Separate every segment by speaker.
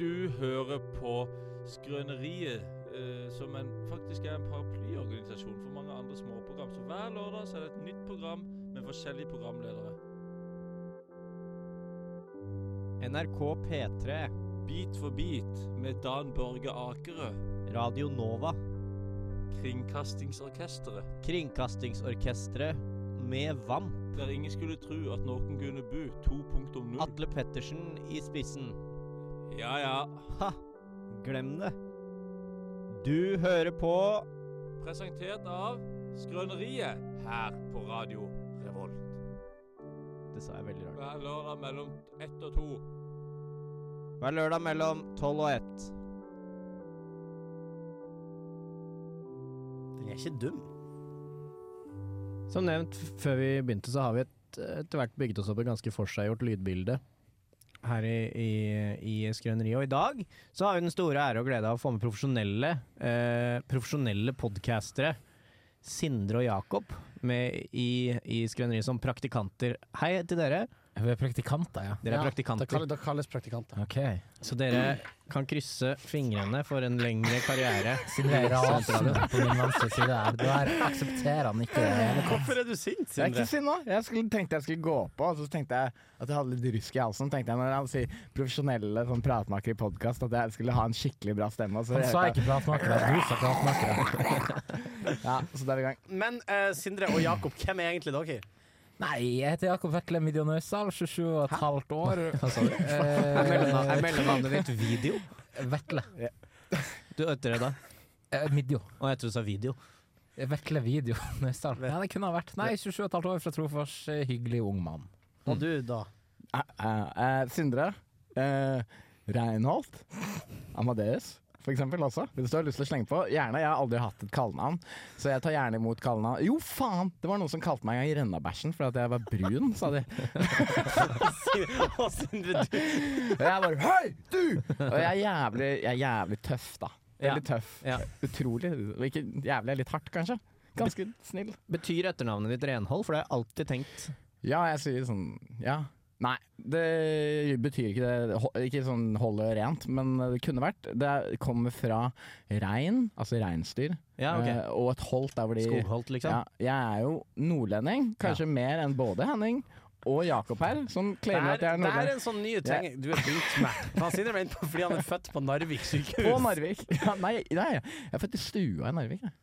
Speaker 1: Du hører på Skrøneriet, eh, som en, faktisk er en paraplyorganisasjon for mange andre småprogram. Så hver lørdag så er det et nytt program med forskjellige programledere.
Speaker 2: NRK P3,
Speaker 1: Bit for bit med Dan Børge Akerø,
Speaker 2: Radio Nova,
Speaker 1: Kringkastingsorkesteret.
Speaker 2: Kringkastingsorkestret med VAMP,
Speaker 1: Der ingen skulle tro at noen kunne bo 2.0.
Speaker 2: Atle Pettersen i spissen.
Speaker 1: Ja ja.
Speaker 2: Ha! Glem det. Du hører på
Speaker 1: Presentert av Skrøneriet her på Radio Revolt.
Speaker 2: Det sa jeg veldig rart.
Speaker 1: Hver lørdag mellom ett og to.
Speaker 2: Hver lørdag mellom tolv og ett.
Speaker 3: Den er ikke dum.
Speaker 4: Som nevnt f- før vi begynte, så har vi et, etter hvert bygget oss opp et ganske forseggjort lydbilde her i, i, i Skrøneriet. Og i dag så har vi den store ære og glede av å få med profesjonelle, eh, profesjonelle podkastere. Sindre og Jakob med i, i Skrøneriet som praktikanter. Hei til dere.
Speaker 5: Vi er praktikanter, ja.
Speaker 4: Dere er
Speaker 3: Ja, Da
Speaker 4: praktikanter.
Speaker 3: kalles, da kalles praktikanter.
Speaker 5: Ok.
Speaker 4: Så dere kan krysse fingrene for en lengre karriere.
Speaker 5: Siden jeg er rasende på min venstre side her, da er- aksepterer han ikke det hele tatt.
Speaker 2: er du sint,
Speaker 3: Jeg er ikke sinna. Jeg skulle, tenkte jeg skulle gå på, og så tenkte jeg at jeg hadde litt rusk i halsen. Tenkte jeg når han sier profesjonelle sånn pratmakere i podkast, at jeg skulle ha en skikkelig bra stemme. og Så,
Speaker 5: Han
Speaker 3: jeg,
Speaker 5: sa ikke platmakere, du sa platmakere.
Speaker 3: ja, så der er vi i gang.
Speaker 2: Men eh, Sindre og Jakob, hvem er egentlig dere?
Speaker 5: Nei, jeg heter Jakob Vekle Midjan Øysal, 27 altså og et halvt år. Eh, Hva sa du?
Speaker 4: Er mellomna-
Speaker 5: Eh,
Speaker 4: er mellomnavnet ditt video?
Speaker 5: Vekle.
Speaker 4: Du øtter det da?
Speaker 5: Eh, Midjo.
Speaker 4: Å, jeg tror du sa video.
Speaker 5: Vekle Video Nøysal. altså. Ja, det kunne ha vært. Nei, 27 og et halvt år fra Trofors. eh, Hyggelig ung mann.
Speaker 2: Og du, da?
Speaker 3: Eh, eh, eh, Sindre. eh, Reinholt. Amadeus, for eksempel også. Hvis du har lyst til å slenge på. Gjerne. Jeg har aldri hatt et kallenavn, så jeg tar gjerne imot kallenavn. Jo, faen! Det var noen som kalte meg en gang i Rennabæsjen for at jeg var brun, sa de.
Speaker 2: Å, Sindre, du.
Speaker 3: Og jeg bare Hei, du! Og jeg er jævlig, jeg er jævlig tøff, da. Veldig tøff.
Speaker 4: Ja.
Speaker 3: Utrolig. Og Ikke jævlig er litt hardt, kanskje. Ganske snill.
Speaker 4: Betyr etternavnet ditt renhold? For det har jeg alltid tenkt.
Speaker 3: Ja, jeg sier sånn Ja. Nei, det betyr ikke det. Ho- Ikke sånn holde rent, men det kunne vært. Det kommer fra rein, altså reinsdyr,
Speaker 4: Ja, ok.
Speaker 3: eh, og et holt der hvor de
Speaker 4: Skogholt, liksom.
Speaker 3: Ja, jeg er jo nordlending, kanskje mer enn både Henning og Jakob her, som
Speaker 2: Det
Speaker 3: claimer
Speaker 2: er,
Speaker 3: at jeg er
Speaker 2: det er
Speaker 3: nordlending.
Speaker 2: en sånn ny ting du er begynt med. Han Sindre ble innpå fordi han er født på Narvik sykehus.
Speaker 3: På Narvik. Ja, nei, nei, jeg er født i stua i Narvik, jeg.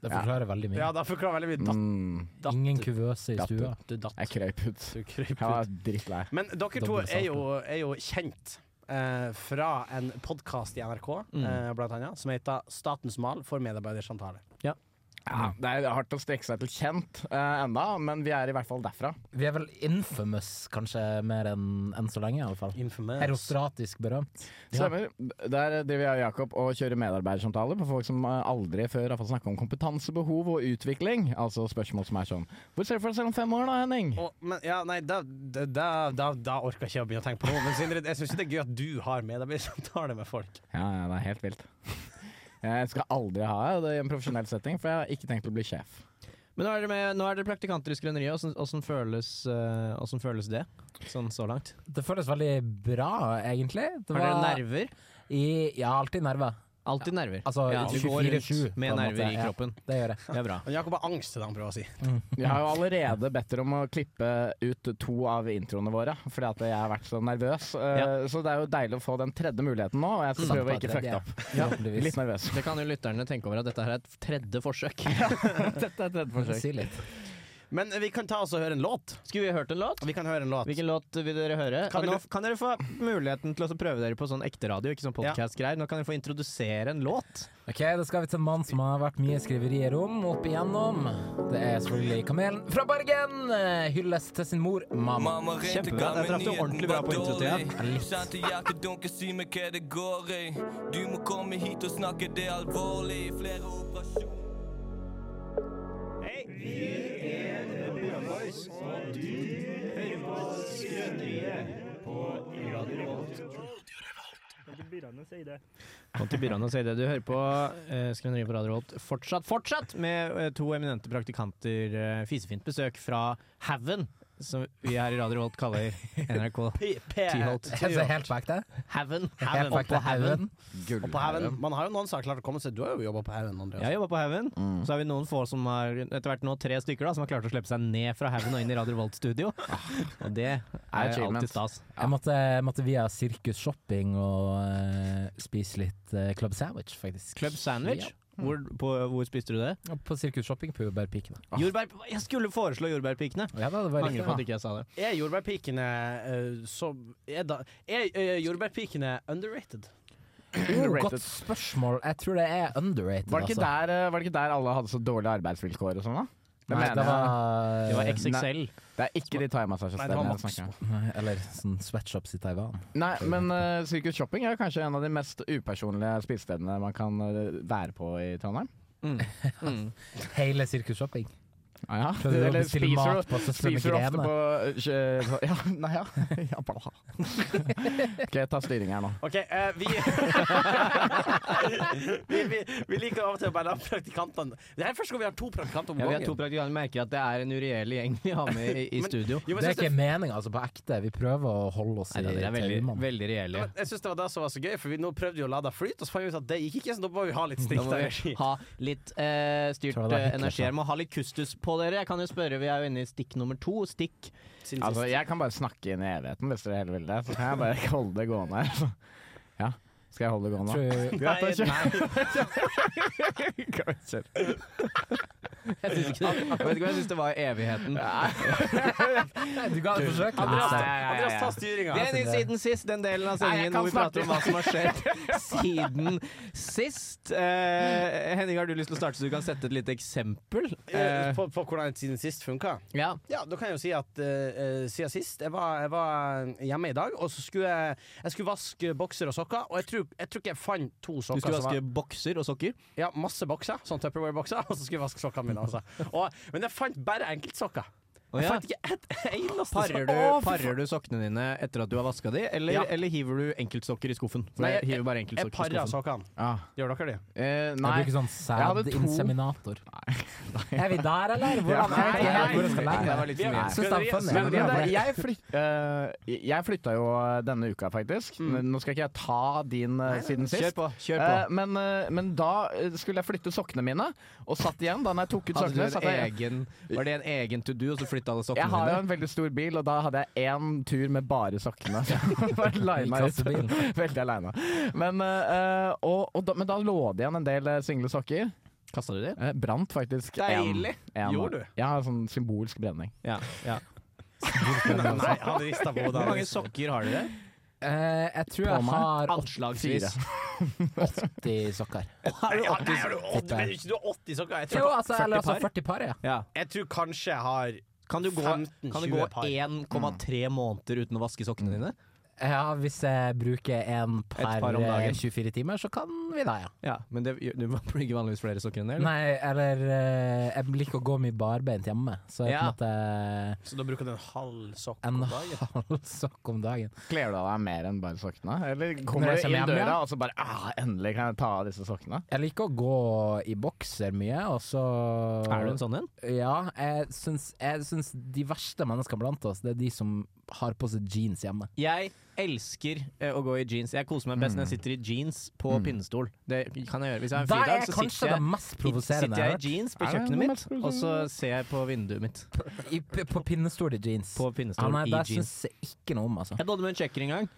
Speaker 5: Det forklarer veldig
Speaker 2: Ja,
Speaker 5: mye.
Speaker 2: da forklarer veldig mye. Datt,
Speaker 3: Mm,
Speaker 2: datt,
Speaker 5: Ingen kuvøse i
Speaker 3: Datter.
Speaker 5: stua.
Speaker 2: Du datt.
Speaker 3: jeg krøyp ut.
Speaker 2: Du kryper
Speaker 3: Jeg var
Speaker 2: ut.
Speaker 3: drittlei.
Speaker 2: Men dere to
Speaker 5: Doble
Speaker 2: er jo, er jo kjent eh, fra en podkast i NRK, eh, blant annet, som heter Statens mal for medarbeidersamtaler.
Speaker 3: Ja, det er hardt å strekke seg til kjent eh, enda, men vi er i hvert fall derfra.
Speaker 5: Vi er vel infamous, kanskje, mer enn enn så lenge, i alle fall.
Speaker 2: Infamous.
Speaker 5: Herostratisk berømt. Ja.
Speaker 3: Stemmer. Der driver jeg og Jakob og kjører medarbeidersamtaler på folk som eh, aldri før har fått snakke om kompetansebehov og utvikling. Altså spørsmål som er sånn Hvor ser du for deg selv om fem år da, Henning?
Speaker 2: Og, men, ja, nei, da, da, da, da, da orker jeg ikke å begynne å tenke på noe. Men Sindre, jeg syns det er gøy at du har medarbeidersamtale med folk.
Speaker 3: Ja, ja, det er helt vilt. Jeg skal aldri ha det i en profesjonell setting, for jeg har ikke tenkt å bli sjef.
Speaker 4: Men nå er dere, med, nå er dere praktikanter i Skrøneriet. Åssen- Åssen føles, eh, åssen føles det sånn så langt?
Speaker 5: Det føles veldig bra, egentlig. Det
Speaker 4: Har dere
Speaker 5: var-
Speaker 4: nerver?
Speaker 5: I, jeg har alltid nerver.
Speaker 4: Alltid nerver.
Speaker 5: Altså
Speaker 2: Ja,
Speaker 4: du går rundt
Speaker 5: 24-7.
Speaker 4: med
Speaker 5: på en
Speaker 4: nerver
Speaker 5: måte.
Speaker 4: i
Speaker 5: Ja,
Speaker 4: kroppen.
Speaker 5: det gjør jeg.
Speaker 4: Det er bra.
Speaker 2: Men Jakob har angst til det han prøver å si.
Speaker 3: Jeg har jo allerede bedt dere om å klippe ut to av introene våre, fordi at jeg har vært så nervøs. Eh,
Speaker 4: Ja.
Speaker 3: Så det er jo deilig å få den tredje muligheten nå, og jeg skal
Speaker 5: Satt
Speaker 3: prøve å
Speaker 5: på tredje,
Speaker 3: ikke fucke det opp.
Speaker 5: Forhåpentligvis.
Speaker 3: Litt nervøs.
Speaker 4: Det kan jo lytterne tenke over at dette her er et tredje forsøk.
Speaker 3: Dette er tredje forsøk.
Speaker 5: Si litt.
Speaker 2: Men vi kan ta oss og høre en låt.
Speaker 4: Skulle vi hørt en låt?
Speaker 2: Vi kan høre en låt.
Speaker 4: Hvilken låt vil dere høre?
Speaker 2: Kan vi-
Speaker 4: nå f- kan dere få muligheten til å prøve dere på sånn ekte radio, ikke sånn podkast-greier. Nå kan dere få introdusere en låt.
Speaker 5: Ok, Da skal vi til en mann som har vært mye skriverier om opp igjennom. Det er selvfølgelig Kamelen fra Bergen. eh, Hylles til sin mor, mamma.
Speaker 6: Mamma ringte,
Speaker 4: Kjempebra.
Speaker 6: ga
Speaker 4: Der
Speaker 6: meg
Speaker 4: traff du ordentlig bra på introtida.
Speaker 6: dårlig. Satte hjertedunket, si meg hva det går i. Du må komme hit og snakke, det er alvorlig. Flere operasjoner
Speaker 4: Monty Byran og Seide, du hører på eh, Skrøneriet på Radio Holt. Fortsatt, fortsatt med eh, to eminente praktikanter. Eh, fisefint besøk fra Haven som vi her i Radio Holt kaller NRK Tyholt.
Speaker 5: Altså, helt på ekte?
Speaker 4: Heaven.
Speaker 5: Helt på
Speaker 4: Og på
Speaker 5: ekte
Speaker 4: Heaven.
Speaker 5: haugen?
Speaker 2: Og på haugen Man har jo noen som har klart å komme seg Du har jo jobba på haugen,
Speaker 4: Jeg har
Speaker 2: Andreas.
Speaker 4: jobba på Haugen.
Speaker 2: Mm.
Speaker 4: Mm. Så har vi noen få som har etter hvert nå tre stykker da som har klart å slippe seg ned fra Haugen og inn i Radio Volt studio.
Speaker 2: Ah,
Speaker 4: Og det er
Speaker 3: Achievement.
Speaker 4: alltid stas.
Speaker 5: Jeg måtte, måtte via Sirkus Shopping og eh, spise litt eh, Club Sandwich, faktisk.
Speaker 4: Club sandwich.
Speaker 5: Mm.
Speaker 4: Hvor, på, hvor spiste du det?
Speaker 5: Ja, på Sirkus Shopping på Jordbærpikene.
Speaker 2: Ah.
Speaker 4: Jordbær, jeg skulle foreslå jordbærpikene!
Speaker 5: Ja, da, det var
Speaker 4: Angrer
Speaker 5: riktig.
Speaker 4: på
Speaker 5: da.
Speaker 4: at ikke jeg sa det.
Speaker 2: Er jordbærpikene eh, så Er, da, er eh, jordbærpikene underrated?
Speaker 5: Oh,
Speaker 3: Underrated.
Speaker 5: godt spørsmål. Jeg tror det er underrated, altså.
Speaker 3: Var det, ikke der, eh, var det ikke der alle hadde så dårlige arbeidsvilkår og sånn, da? Det,
Speaker 5: Nei,
Speaker 3: mener
Speaker 5: det
Speaker 3: jeg.
Speaker 5: var,
Speaker 4: Det
Speaker 2: Eh,
Speaker 4: var XXL.
Speaker 3: det er
Speaker 2: Nei, det
Speaker 3: ikke de
Speaker 2: var
Speaker 3: thaimassasjestedene jeg
Speaker 2: Maxbo.
Speaker 3: snakker om.
Speaker 5: Nei, Eller sånn sweatshops i Taiwan.
Speaker 3: Nei, men eh, Circus Shopping er kanskje en av de mest upersonlige spisestedene man kan eh, være på i Trondheim.
Speaker 5: Hele Sirkus Shopping.
Speaker 3: Ah, ja.
Speaker 5: Prøvde du å
Speaker 3: Eller
Speaker 5: bestille
Speaker 3: spiser
Speaker 5: mat
Speaker 3: du-
Speaker 5: på søstrene
Speaker 3: Spiser du ofte
Speaker 5: Grene?
Speaker 3: på eh, kjø- Ja, nei, ja. ja bla. Ok, ta styring her nå.
Speaker 2: OK, eh, vi, vi, vi Vi liker av og til å bare la praktikantene Det her er første gang vi har to praktikanter om
Speaker 4: Ja, vi er
Speaker 2: gangen.
Speaker 4: to praktikanter merker at det er en ureell gjeng vi har med i, i
Speaker 2: Men-
Speaker 4: studio.
Speaker 2: Jo, men
Speaker 5: Det er
Speaker 2: jeg
Speaker 5: ikke
Speaker 2: synes
Speaker 5: meninga, altså, på ekte. Vi prøver å holde oss
Speaker 4: Nei, da,
Speaker 5: i
Speaker 4: dere er veldig,
Speaker 5: tauene.
Speaker 4: veldig reelle.
Speaker 2: det- jeg synes det var det som var så gøy, for vi nå prøvde jo å la det flyte, og så fant vi ut at det gikk ikke, så da må vi ha litt
Speaker 4: Da
Speaker 2: strikt
Speaker 4: må vi
Speaker 2: energi.
Speaker 4: ha litt eh, styrt
Speaker 5: Tror det var
Speaker 4: eh,
Speaker 5: Hitler,
Speaker 4: energi
Speaker 5: sa.
Speaker 4: her. Må ha litt kustus på dere. Jeg kan jo spørre, vi er jo inne i stikk nummer to. Stikk.
Speaker 2: Siden
Speaker 3: Altså,
Speaker 2: sist.
Speaker 3: jeg kan bare snakke inn i evigheten hvis dere heller vil det. Så kan jeg bare holde det gående. her. Ja, skal jeg holde det gående?
Speaker 5: Tror jeg-
Speaker 3: Greit, da kjører
Speaker 2: nei.
Speaker 3: Kan vi kjøre?
Speaker 4: Jeg syns ikke det. Jeg vet ikke om jeg syns det var evigheten.
Speaker 5: Du ga det et forsøk.
Speaker 2: Andreas,
Speaker 5: Nei,
Speaker 3: ja, ja, ja.
Speaker 2: Andreas, ta styringa.
Speaker 4: Det er den siden sist, den delen av sendingen
Speaker 3: Nei,
Speaker 4: hvor vi
Speaker 3: jeg
Speaker 4: prater
Speaker 3: kan
Speaker 4: om hva som har skjedd siden sist. Eh, Henning, har du lyst til å starte, så du kan sette et lite eksempel?
Speaker 2: Eh,
Speaker 4: Eh,
Speaker 2: På, på hvordan siden sist funka?
Speaker 4: ja.
Speaker 2: Ja, da kan jeg jo si at eh, eh, siden sist jeg var, jeg var eh, hjemme i dag, og så skulle jeg, jeg skulle vaske bokser og sokker, og jeg tror, jeg tror ikke jeg fant to
Speaker 4: Du
Speaker 2: sokker.
Speaker 4: skulle
Speaker 2: som var-
Speaker 4: vaske bokser og sokker.
Speaker 2: Ja, masse bokser, sånn Tupperware-bokser, og så skulle jeg vaske sokkene mine. Altså. Og, men jeg fant bare enkeltsokker.
Speaker 4: Å,
Speaker 2: Jeg
Speaker 4: ja.
Speaker 2: fant ikke ett eneste
Speaker 4: Parer du,
Speaker 2: Å, fy
Speaker 4: parer du sokkene dine etter at du har vaska de, eller,
Speaker 2: Ja.
Speaker 4: eller hiver du enkeltsokker i skuffen? For
Speaker 2: Nei,
Speaker 4: jeg hiver bare
Speaker 2: faen. Jeg
Speaker 4: enkeltsokker i
Speaker 2: parer
Speaker 4: skuffen.
Speaker 2: sokkene.
Speaker 3: Ah,
Speaker 2: Gjør dere det?
Speaker 3: eh,
Speaker 5: Jeg
Speaker 3: nei.
Speaker 5: bruker sånn
Speaker 3: hadde to.
Speaker 5: sædinseminator. Er vi der, eller? Hvordan
Speaker 3: Nei,
Speaker 5: er det?
Speaker 3: nei,
Speaker 5: Hvor jeg skal
Speaker 4: Nei,
Speaker 5: legge
Speaker 4: det
Speaker 5: det?
Speaker 4: var litt for
Speaker 2: Nei.
Speaker 4: mye.
Speaker 5: Syns det er funny. Men
Speaker 3: Men
Speaker 5: det
Speaker 3: det,
Speaker 5: er bare-
Speaker 3: jeg, flyt, eh, jeg flytta jo eh, denne uka, faktisk. Nå skal ikke jeg ta din eh, siden sist.
Speaker 4: Kjør på. kjør på
Speaker 3: Eh, men, eh, men da eh, skulle jeg flytte sokkene mine, og satt igjen. Da når jeg tok ut
Speaker 4: Hadde du
Speaker 3: sokkene
Speaker 4: en
Speaker 3: satt jeg,
Speaker 4: egen, Var det en egen to do, og så flytta alle
Speaker 3: jeg
Speaker 4: sokkene
Speaker 3: har jo
Speaker 4: dine?
Speaker 3: en veldig stor bil, og da hadde jeg én tur med bare sokkene. Så jeg var alene ut.
Speaker 5: Kassebilen.
Speaker 3: Veldig alene. Men, eh, og, og da, men da lå det igjen en del eh, single sokker.
Speaker 4: Kasta du det?
Speaker 3: Eh, brant faktisk
Speaker 4: Deilig.
Speaker 3: En, en,
Speaker 2: Gjorde du?
Speaker 3: Ja, sånn symbolsk brenning.
Speaker 4: Ja, ja.
Speaker 2: Nei, han rista på
Speaker 4: Hvor mange
Speaker 2: hodet.
Speaker 4: sokker har dere?
Speaker 5: Eh, jeg tror
Speaker 3: På
Speaker 5: jeg
Speaker 3: meg.
Speaker 5: har
Speaker 4: Anslagsvis.
Speaker 5: 80 sokker.
Speaker 2: Har du 80 sokker?
Speaker 5: åtti-
Speaker 2: Men ikke du har 80 sokker? Jeg
Speaker 5: Jo,
Speaker 2: tror,
Speaker 5: altså, eller
Speaker 4: 40 par?
Speaker 5: altså 40 par, ja.
Speaker 4: Ja.
Speaker 2: jeg tror kanskje jeg har
Speaker 4: Kan du gå,
Speaker 2: 15-20
Speaker 4: kan du gå
Speaker 2: par.
Speaker 4: 1,3 måneder uten å vaske sokkene dine?
Speaker 5: ja. Hvis jeg bruker en per,
Speaker 4: par om dagen.
Speaker 5: eh, 24 timer, så kan vi det, ja.
Speaker 4: Ja, Men det, du bruker vanligvis flere sokker enn det? eller?
Speaker 5: Nei, eller eh, Jeg liker å gå mye barbeint hjemme, så jeg
Speaker 4: Ja.
Speaker 5: på en
Speaker 2: Så da bruker du en halv sokk om
Speaker 5: måte
Speaker 2: dagen?
Speaker 5: En halv sokk om dagen.
Speaker 3: Kler du av deg mer enn bare sokkene? Eller
Speaker 5: Når
Speaker 3: kommer
Speaker 5: jeg
Speaker 3: du
Speaker 5: kommer
Speaker 3: inn
Speaker 5: hjem,
Speaker 3: døra
Speaker 5: ja.
Speaker 3: og så bare ah, 'Endelig kan jeg ta av disse sokkene'?
Speaker 5: Jeg liker å gå i bokser mye, og så
Speaker 4: Er du en sånn en?
Speaker 5: Ja, jeg syns, jeg syns de verste menneskene blant oss, det er de som har på seg jeans hjemme.
Speaker 4: Jeg elsker eh, å gå i jeans. Jeg koser meg best når jeg sitter i jeans på pinnestol. Det kan jeg gjøre. Hvis Mm. jeg har en
Speaker 5: Der er
Speaker 4: fridag, så
Speaker 5: kanskje
Speaker 4: sitter
Speaker 5: det
Speaker 4: jeg,
Speaker 5: mest provoserende
Speaker 4: sitter jeg
Speaker 5: har
Speaker 4: i jeans på
Speaker 3: Er det
Speaker 4: kjøkkenet
Speaker 3: noe
Speaker 4: mitt,
Speaker 3: mest provoserende?
Speaker 4: og så ser jeg på vinduet mitt.
Speaker 5: hørt. I, p- på pinnestol i jeans.
Speaker 4: På
Speaker 5: ja,
Speaker 4: pinnestol
Speaker 5: nei,
Speaker 4: i
Speaker 5: det
Speaker 4: jeans.
Speaker 5: syns jeg ikke noe om, altså.
Speaker 4: Jeg bodde med en tsjekker en gang.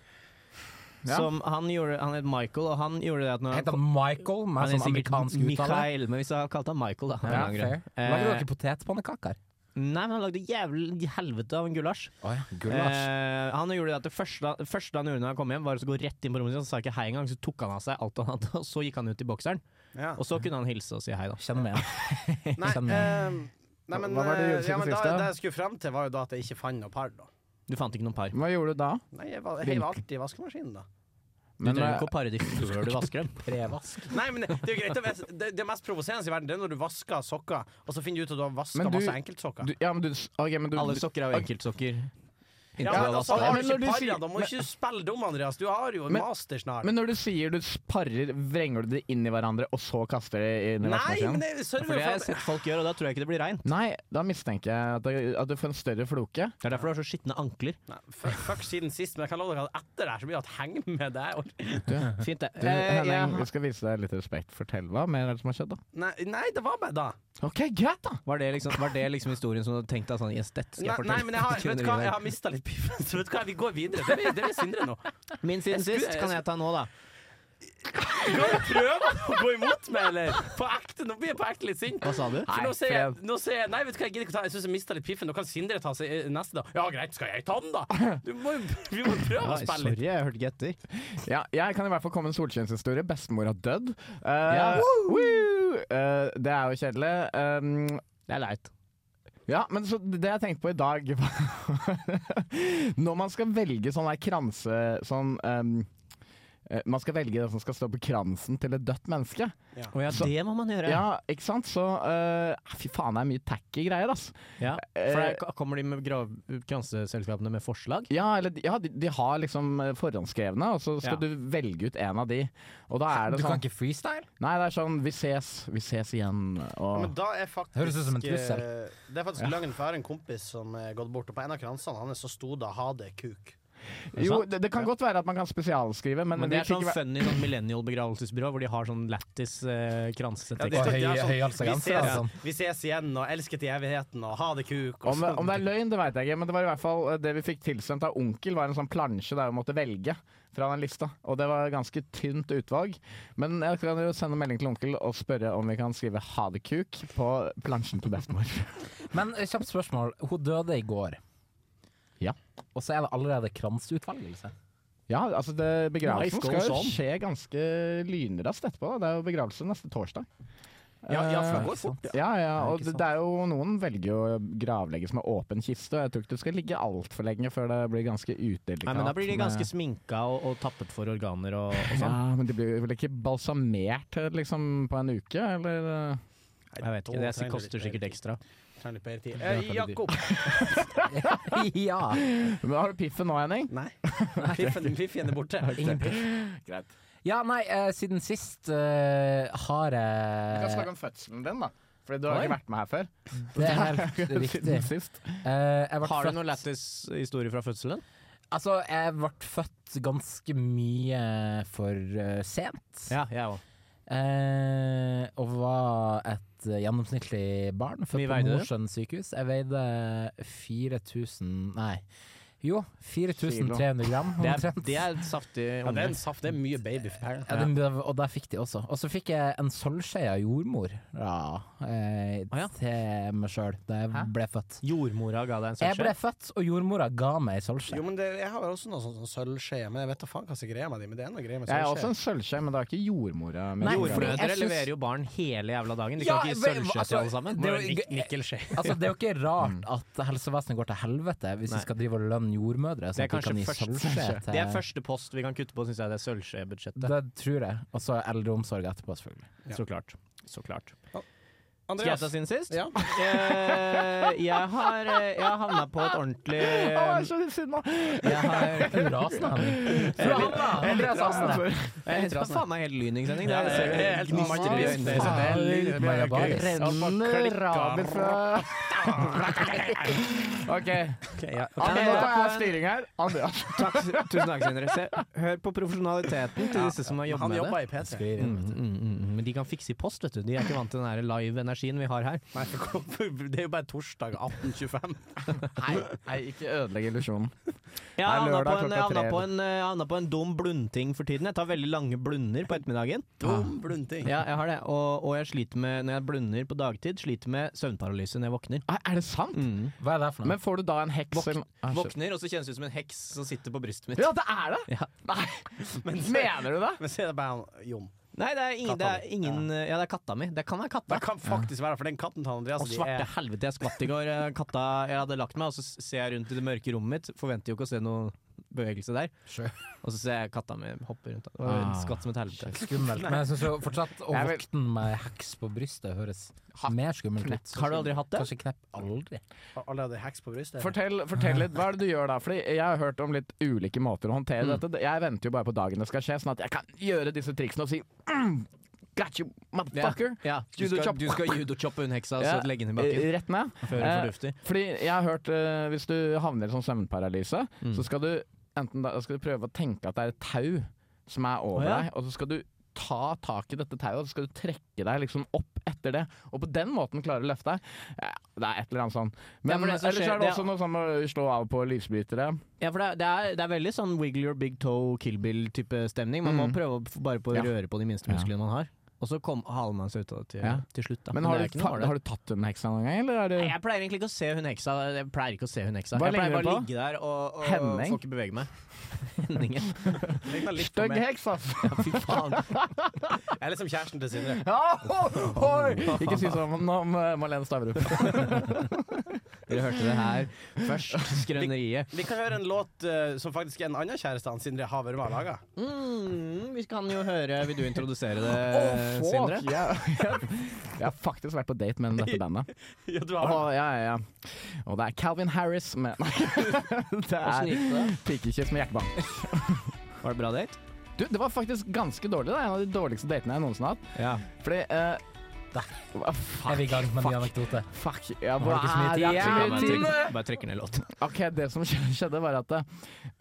Speaker 3: Ja.
Speaker 4: Som han, gjorde, han het Michael, og han gjorde det at når han
Speaker 5: Heter han Michael,
Speaker 4: Han
Speaker 5: med
Speaker 4: er
Speaker 5: sånn
Speaker 4: sikkert
Speaker 5: amerikansk uttale.
Speaker 4: Mikael, men hvis jeg hadde kalt han Michael, da. av en
Speaker 5: Ja,
Speaker 4: eller
Speaker 5: fair.
Speaker 4: annen grunn.
Speaker 5: Lager
Speaker 4: Eh,
Speaker 5: dere potetpannekaker?
Speaker 4: Nei, men han lagde jævlig helvete av en gulasj.
Speaker 5: Oh, ja.
Speaker 4: Eh, han gjorde det at det første, det første han gjorde når han kom hjem, var å gå rett inn på rommet sitt. Han sa ikke hei engang, så tok han av seg alt han hadde, og så gikk han ut i bokseren.
Speaker 2: Ja.
Speaker 4: Og så kunne han hilse og si hei, da.
Speaker 5: Kjenner meg igjen.
Speaker 2: Nei,
Speaker 5: Kjenner meg igjen.
Speaker 2: eh, nei, men,
Speaker 3: Hva var det du
Speaker 2: eh,
Speaker 3: gjorde
Speaker 2: ja, men da,
Speaker 3: siden sist, da?
Speaker 2: det jeg skulle frem til, var jo da at jeg ikke fant noe par. da
Speaker 4: Du fant ikke noen par.
Speaker 3: Eh, Hva gjorde du da?
Speaker 2: Nei, Jeg, var- jeg heiv alltid i vaskemaskinen, da.
Speaker 4: Du
Speaker 3: eh,
Speaker 4: trenger ikke å pare de før du vasker dem.
Speaker 5: Prevask.
Speaker 2: Nei, men Det det er jo greit å vite- det, det mest provoserende i verden Det er når du vasker sokker, og så finner du ut at du har vaska
Speaker 3: Men du-
Speaker 2: masse enkeltsokker.
Speaker 3: du, ja, men du, ok, men du
Speaker 4: Alle sokker er jo enkeltsokker.
Speaker 2: Ja, men altså,
Speaker 3: Ja,
Speaker 2: har
Speaker 3: men
Speaker 2: du
Speaker 3: når du
Speaker 2: ikke
Speaker 3: sier-
Speaker 2: parra, da må du ikke spille dum, Andreas. Du har jo en
Speaker 3: Men-
Speaker 2: master snart.
Speaker 3: Men når du sier du parrer, vrenger du det inn i hverandre, og så kaster det inn i
Speaker 2: Nei,
Speaker 3: vaskemaskinen?
Speaker 2: men jeg
Speaker 4: For
Speaker 2: sørger
Speaker 4: det har jeg
Speaker 2: for at
Speaker 4: sett folk gjøre, og da tror jeg ikke det blir rein.
Speaker 3: Nei, da mistenker jeg at, det, at du får en større floke.
Speaker 4: Det er derfor du har så skitne ankler.
Speaker 2: Nei, fuck, fuck siden sist, men jeg kan love dere at etter det her så blir det at heng med deg.
Speaker 4: Fint, det.
Speaker 3: Du,
Speaker 4: Eh, jeg har-
Speaker 3: Henning, vi skal vise deg litt respekt. Fortell hva mer er det som har skjedd, da?
Speaker 2: Nei, nei, det var bare da.
Speaker 3: Ok, Eh, greit, da!
Speaker 4: var, det liksom, var det liksom historien som du tenkte at sånn, yes, dette skal jeg
Speaker 2: Nei,
Speaker 4: fortelle?
Speaker 2: nei, men jeg har, vet du hva,
Speaker 4: Kvinner i
Speaker 2: jeg har mista litt piffen, så vet du hva, vi går videre. Det vil, det vil Sindre nå.
Speaker 4: dag. Min siden
Speaker 2: skulle-
Speaker 4: sist kan jeg ta nå, da.
Speaker 2: Går du prøver å gå imot meg, eller? På ekte, Nå blir jeg på ekte litt sint.
Speaker 4: Hva sa du?
Speaker 2: For nå
Speaker 4: Nei,
Speaker 2: ser jeg,
Speaker 4: fred.
Speaker 2: nå ser jeg Nei, vet du hva, jeg gidder ikke ta Jeg syns jeg mista litt piffen. Nå kan Sindre ta seg eh, neste, da. Ja, greit, skal jeg ta den, da? Du må, jo- vi må prøve å
Speaker 4: Oi,
Speaker 2: spille
Speaker 4: sorry,
Speaker 2: litt.
Speaker 4: jeg hørte ikke etter.
Speaker 3: Ja, jeg kan i hvert fall komme med en solskinnshistorie. Bestemor har dødd. Eh,
Speaker 4: Ja.
Speaker 3: woo! Eh, det er jo kjedelig. Um,
Speaker 4: Det er leit.
Speaker 3: Ja, men så det jeg tenkte på i dag var- Når man skal velge sånn der kranse Sånn ehm, eh, Man skal velge det som skal stå på kransen til et dødt menneske.
Speaker 4: Å ja,
Speaker 3: Så-
Speaker 4: det må man gjøre.
Speaker 3: Ja, ikke sant? Så eh, Fy faen, det er mye tacky greier, ass.
Speaker 4: Ja,
Speaker 3: Eh,
Speaker 4: For der ko- kommer de med grav- kranseselskapene med forslag?
Speaker 3: Ja, eller, ja de, de har liksom eh, forhåndsskrevne, og så skal
Speaker 4: Ja.
Speaker 3: du velge ut en av de. Og da er det
Speaker 5: Du kan
Speaker 3: sånn
Speaker 5: ikke freestyle?
Speaker 3: Nei, det er sånn Vi ses, vi ses igjen. Og
Speaker 7: Men da er faktisk
Speaker 5: Høres ut som en
Speaker 7: eh,
Speaker 5: trussel.
Speaker 7: Det er faktisk løgn, for jeg har en kompis som er gått bort, og på en av kransene hans så sto det 'ha det, kuk'.
Speaker 4: det
Speaker 3: Jo,
Speaker 4: sant?
Speaker 3: det, det kan godt være at man kan spesialskrive, men,
Speaker 4: Men det er
Speaker 3: vi fikk
Speaker 4: sånn
Speaker 3: ikke væ-
Speaker 4: funny sånn millennial-begravelsesbyrå, hvor de har sånn lættis eh,
Speaker 5: det-
Speaker 4: kransetekst.
Speaker 5: Og høy-
Speaker 7: det sånn? er
Speaker 5: høyhalsa
Speaker 7: vi,
Speaker 5: genser,
Speaker 7: ses,
Speaker 5: altså.
Speaker 7: vi ses igjen, og elsket i evigheten, og ha det, kuk. Og
Speaker 3: Om,
Speaker 7: så-
Speaker 3: om det er løgn, det veit jeg ikke, men det var i hvert fall eh, det vi fikk tilsendt av onkel, var en sånn plansje der vi måtte velge fra den lista. Og det var ganske tynt utvalg. Men jeg kan jo sende melding til onkel og spørre om vi kan skrive 'ha det, kuk' på plansjen til bestemor.
Speaker 5: Men eh, kjapt spørsmål. Hun døde i går.
Speaker 3: Ja.
Speaker 5: Og så er det allerede kranseutvalgelse.
Speaker 3: Ja, altså det, begravelsen
Speaker 4: Life
Speaker 3: skal
Speaker 4: goes
Speaker 3: jo
Speaker 4: on.
Speaker 3: skje ganske lynraskt etterpå. Da. Det er jo begravelse neste torsdag.
Speaker 2: Ja, ja, for
Speaker 3: Eh,
Speaker 2: det går fort.
Speaker 3: ja, ja,
Speaker 5: Ikke
Speaker 3: og det,
Speaker 5: sant.
Speaker 3: det er jo noen velger jo å gravlegges med åpen kiste, og jeg tror ikke du skal ligge altfor lenge før det blir ganske utdelikat.
Speaker 4: Nei, men da blir de
Speaker 3: med-
Speaker 4: ganske sminka og, og tappet for organer og, og sånn.
Speaker 3: Ja, men de blir vel ikke balsamert eh, liksom, på en uke, eller? eh?
Speaker 4: Jeg vet ikke, det koster sikkert ekstra.
Speaker 7: Trenger litt mer tid. Eh, Jakob.
Speaker 5: ja.
Speaker 3: Men har du piffen nå, Henning?
Speaker 7: Nei. Piffen, piffen er borte.
Speaker 5: Ingen
Speaker 3: Greit.
Speaker 5: Ja, nei, eh, siden sist eh, har
Speaker 3: Vi kan
Speaker 5: jeg
Speaker 3: snakke om fødselen din, da. Fordi du har
Speaker 5: Oi.
Speaker 3: ikke vært med her før.
Speaker 5: Det er helt
Speaker 3: Siden
Speaker 5: riktig.
Speaker 3: Sist.
Speaker 5: Eh, jeg ble
Speaker 4: Har du
Speaker 5: født-
Speaker 4: noen lættis historie fra fødselen?
Speaker 5: Altså, jeg ble født ganske mye for eh, sent.
Speaker 4: Ja, jeg òg.
Speaker 5: Eh, og var et eh, gjennomsnittlig barn. Født
Speaker 4: Mye
Speaker 5: på
Speaker 4: veide du?
Speaker 5: Mosjøen sykehus. Jeg veide 4000 Nei, jo, 4300 gram.
Speaker 4: Det er,
Speaker 5: omtrent.
Speaker 4: det er et saftig
Speaker 7: Ja, det er
Speaker 4: unge.
Speaker 7: en saft. Det er mye baby for pæren.
Speaker 5: Ja, det, og der fikk de også. Og så fikk jeg en sølvskje av jordmor ja, eh,
Speaker 4: Å ja.
Speaker 5: til meg sjøl da jeg ble født.
Speaker 4: Jordmora ga deg en
Speaker 5: Jeg ble
Speaker 4: sølvskje.
Speaker 5: født, og jordmora ga meg ei sølvskje.
Speaker 7: Jo, men det, jeg har vel også noe sånn sånn sølvskje, men jeg vet da faen hva som er greia med de, men det er noe greia med
Speaker 3: Jeg er også
Speaker 7: sølvskje.
Speaker 3: en sølvskje, men det er ikke jordmora mi.
Speaker 5: Nei,
Speaker 3: Jordmora.
Speaker 5: fordi- jeg
Speaker 4: Jordmødre
Speaker 5: syns-
Speaker 4: leverer jo barn hele jævla dagen. De
Speaker 5: Ja,
Speaker 4: kan ikke gi
Speaker 5: men-
Speaker 4: sølvskje
Speaker 5: altså,
Speaker 4: til alle sammen.
Speaker 5: det er
Speaker 7: Bare
Speaker 5: jo-
Speaker 7: nik- Nikkelskje.
Speaker 5: Altså, det er jo ikke rart at helsevesenet går til helvete hvis
Speaker 4: Mm. Nei.
Speaker 5: vi skal drive og lønne jordmødre.
Speaker 4: Det
Speaker 5: Sånn
Speaker 4: er
Speaker 5: at de
Speaker 4: kanskje
Speaker 5: kan gi
Speaker 4: først-
Speaker 5: sølvskje til
Speaker 4: Det er første post vi kan kutte på, syns jeg. Det er sølvskjebudsjettet.
Speaker 5: Det tror jeg. Og så eldreomsorg etterpå, selvfølgelig.
Speaker 7: Ja.
Speaker 4: Så klart. Så klart. Skal jeg
Speaker 7: Andreas.
Speaker 4: ta sin sist?
Speaker 7: Ja.
Speaker 4: Eh, jeg har eh, Jeg havna på et ordentlig eh,
Speaker 3: Å, jeg er så sinna!
Speaker 5: Jeg har Du er rasende, Henning. Du er rasende. Andreas Asne.
Speaker 4: Jeg heter faen meg helt lyningssending. Det
Speaker 7: det er- det er helt
Speaker 4: gnister i
Speaker 7: magisk.
Speaker 4: øynene.
Speaker 5: Faen, Mayabaris.
Speaker 3: Renner raber fra OK.
Speaker 4: Ok, ja. Ok,
Speaker 3: Anders,
Speaker 4: jeg
Speaker 3: nå
Speaker 4: er
Speaker 3: tar
Speaker 4: på
Speaker 3: jeg
Speaker 4: en-
Speaker 3: styring her. Andreas.
Speaker 4: Takk, tusen takk, Sindre. Se, hør på profesjonaliteten til disse som har jobbet
Speaker 7: Han
Speaker 4: med
Speaker 7: jobba
Speaker 4: det.
Speaker 7: i P3.
Speaker 4: Mm,
Speaker 5: Skriver inn.
Speaker 4: mm, mm. Men de kan fikse i post, vet du. De er ikke vant til den her live-energien vi har her.
Speaker 7: Nei, for kom- for det er jo bare torsdag 18.25.
Speaker 3: Nei, nei, ikke ødelegg illusjonen.
Speaker 4: Jeg
Speaker 3: Nei,
Speaker 4: havna på,
Speaker 3: lørdag
Speaker 4: en- jeg
Speaker 3: klokka
Speaker 4: havna
Speaker 3: tre.
Speaker 4: på, en, eh, jeg havna på en dum blundting for tiden. Jeg tar veldig lange blunder på ettermiddagen.
Speaker 7: Dum blundting.
Speaker 4: Ja, jeg har det. Og, og jeg sliter med, når jeg blunder på dagtid, sliter med søvnparalyse når jeg våkner.
Speaker 3: Er er det sant?
Speaker 5: Hva er det for noe?
Speaker 3: Men får du da en heks
Speaker 4: Våkn-
Speaker 3: eller- Ah, shit.
Speaker 4: Mm. Våkner, og så kjennes det ut som en heks som sitter på brystet mitt.
Speaker 3: Ja, det er det!
Speaker 4: Altså- Ja.
Speaker 3: Nei, mener du det?
Speaker 7: Men så er det bare han Jon.
Speaker 4: Nei, det er ingen, det
Speaker 7: Katta
Speaker 4: er ingen eh, Ja, det er katta mi. Det kan være katta.
Speaker 7: Det kan faktisk være, for den katten til Andreas
Speaker 4: Å,
Speaker 7: Altså, de
Speaker 4: svarte
Speaker 7: er
Speaker 4: helvete, jeg skvatt i går. Eh, Katta, jeg hadde lagt meg, og så ser jeg rundt i det mørke rommet mitt. Forventer jo ikke å se noe bevegelse der.
Speaker 5: Sure.
Speaker 4: Og så ser jeg katta mi hoppe rundt. Det var jo en
Speaker 3: Ah,
Speaker 4: skatt som et helvete.
Speaker 5: Skummelt. Men jeg syns jo fortsatt å
Speaker 3: Jeg vil-
Speaker 5: våkne med heks på brystet høres mer skummelt ut.
Speaker 4: Har du aldri hatt det?
Speaker 5: Kanskje knepp aldri.
Speaker 7: Allerede heks på brystet.
Speaker 3: Fortell, fortell litt, hva er det du gjør da? Fordi jeg har hørt om litt ulike måter å håndtere dette. Jeg venter jo bare på dagen det skal skje, sånn at jeg kan gjøre disse triksene og si mm, Got you, motherfucker!
Speaker 4: Ja, du
Speaker 3: Judo
Speaker 4: skal,
Speaker 3: chop.
Speaker 4: du skal judochoppe hun heksa og så
Speaker 3: Ja.
Speaker 4: legge henne i bakken
Speaker 3: Rett ned.
Speaker 4: før hun
Speaker 3: eh,
Speaker 4: får luft i.
Speaker 3: Fordi jeg har hørt eh, hvis du havner i sånn søvnparalyse,
Speaker 4: Mm.
Speaker 3: så skal du enten da, skal du prøve å tenke at det er et tau som er
Speaker 4: Å,
Speaker 3: over
Speaker 4: ja.
Speaker 3: deg, og så skal du ta tak i dette tauet, og så skal du trekke deg liksom opp etter det. Og på den måten klare å løfte deg. Ja, det er et eller annet sånn.
Speaker 4: Ja,
Speaker 3: Men
Speaker 4: for det som
Speaker 3: ellers
Speaker 4: skjer-
Speaker 3: er det
Speaker 4: det er-
Speaker 3: også noe sånn å slå av på lysbrytere.
Speaker 4: Ja, for det er, det, er, det er veldig sånn wiggle your big toe, kill bill-type stemning. Man må
Speaker 3: Mm.
Speaker 4: prøve å f- bare på å
Speaker 3: Ja.
Speaker 4: røre på de minste
Speaker 3: Ja.
Speaker 4: musklene man har. Og så kom, haler man seg ut av det til,
Speaker 3: Ja.
Speaker 4: til slutt. Da.
Speaker 3: Men har
Speaker 4: det er
Speaker 3: du,
Speaker 4: ikke noe
Speaker 3: ta,
Speaker 4: å gjøre.
Speaker 3: har du tatt den heksa noen gang, eller er det
Speaker 4: Nei, Jeg pleier egentlig ikke å se hun heksa. Jeg pleier ikke å se hun heksa.
Speaker 3: Hva
Speaker 4: jeg pleier
Speaker 3: ligner
Speaker 4: bare å
Speaker 3: hun på?
Speaker 4: ligge der og, og
Speaker 3: Henning?
Speaker 4: får ikke bevege meg. Henning, ja. Jeg kan litt for
Speaker 3: Stygg
Speaker 4: meg.
Speaker 3: heks, altså? ass!
Speaker 4: Ja, fy faen.
Speaker 7: Jeg er liksom kjæresten til Sindre.
Speaker 3: Ja, ho- hoi! Ikke si sånn om om, eh, Malene Stavrum.
Speaker 4: Dere hørte det her først. Skrøneriet.
Speaker 7: Vi kan høre en låt eh, som faktisk en annen kjæreste han Sindre har vært med og laga.
Speaker 4: Mm, vi kan jo høre Vil du introdusere det,
Speaker 3: Å, fuck!
Speaker 4: Sindre?
Speaker 3: Jeg, jeg, Eh, jeg har faktisk vært på date med dette bandet.
Speaker 7: Ja, du
Speaker 3: Å, ja, ja, ja. Og det er Calvin Harris med Nei,
Speaker 4: Åssen
Speaker 3: det er
Speaker 4: gikk det?
Speaker 3: Pikekyss med hjertebank.
Speaker 4: Var det bra date?
Speaker 3: Du, det var faktisk ganske dårlig. Det er en av de dårligste datene jeg noensinne har hatt.
Speaker 4: Ja.
Speaker 3: Fordi eh, hva-
Speaker 5: Er vi i gang med en ny
Speaker 3: fuck,
Speaker 5: anekdote?
Speaker 3: fuck. Ja,
Speaker 5: Nå har du ikke så mye
Speaker 3: hva er
Speaker 5: tid.
Speaker 3: det jeg
Speaker 5: Ja,
Speaker 3: har
Speaker 4: bare,
Speaker 3: med tid?
Speaker 4: trykker, bare trykker ned låten.
Speaker 3: OK, det som skjedde, var at eh,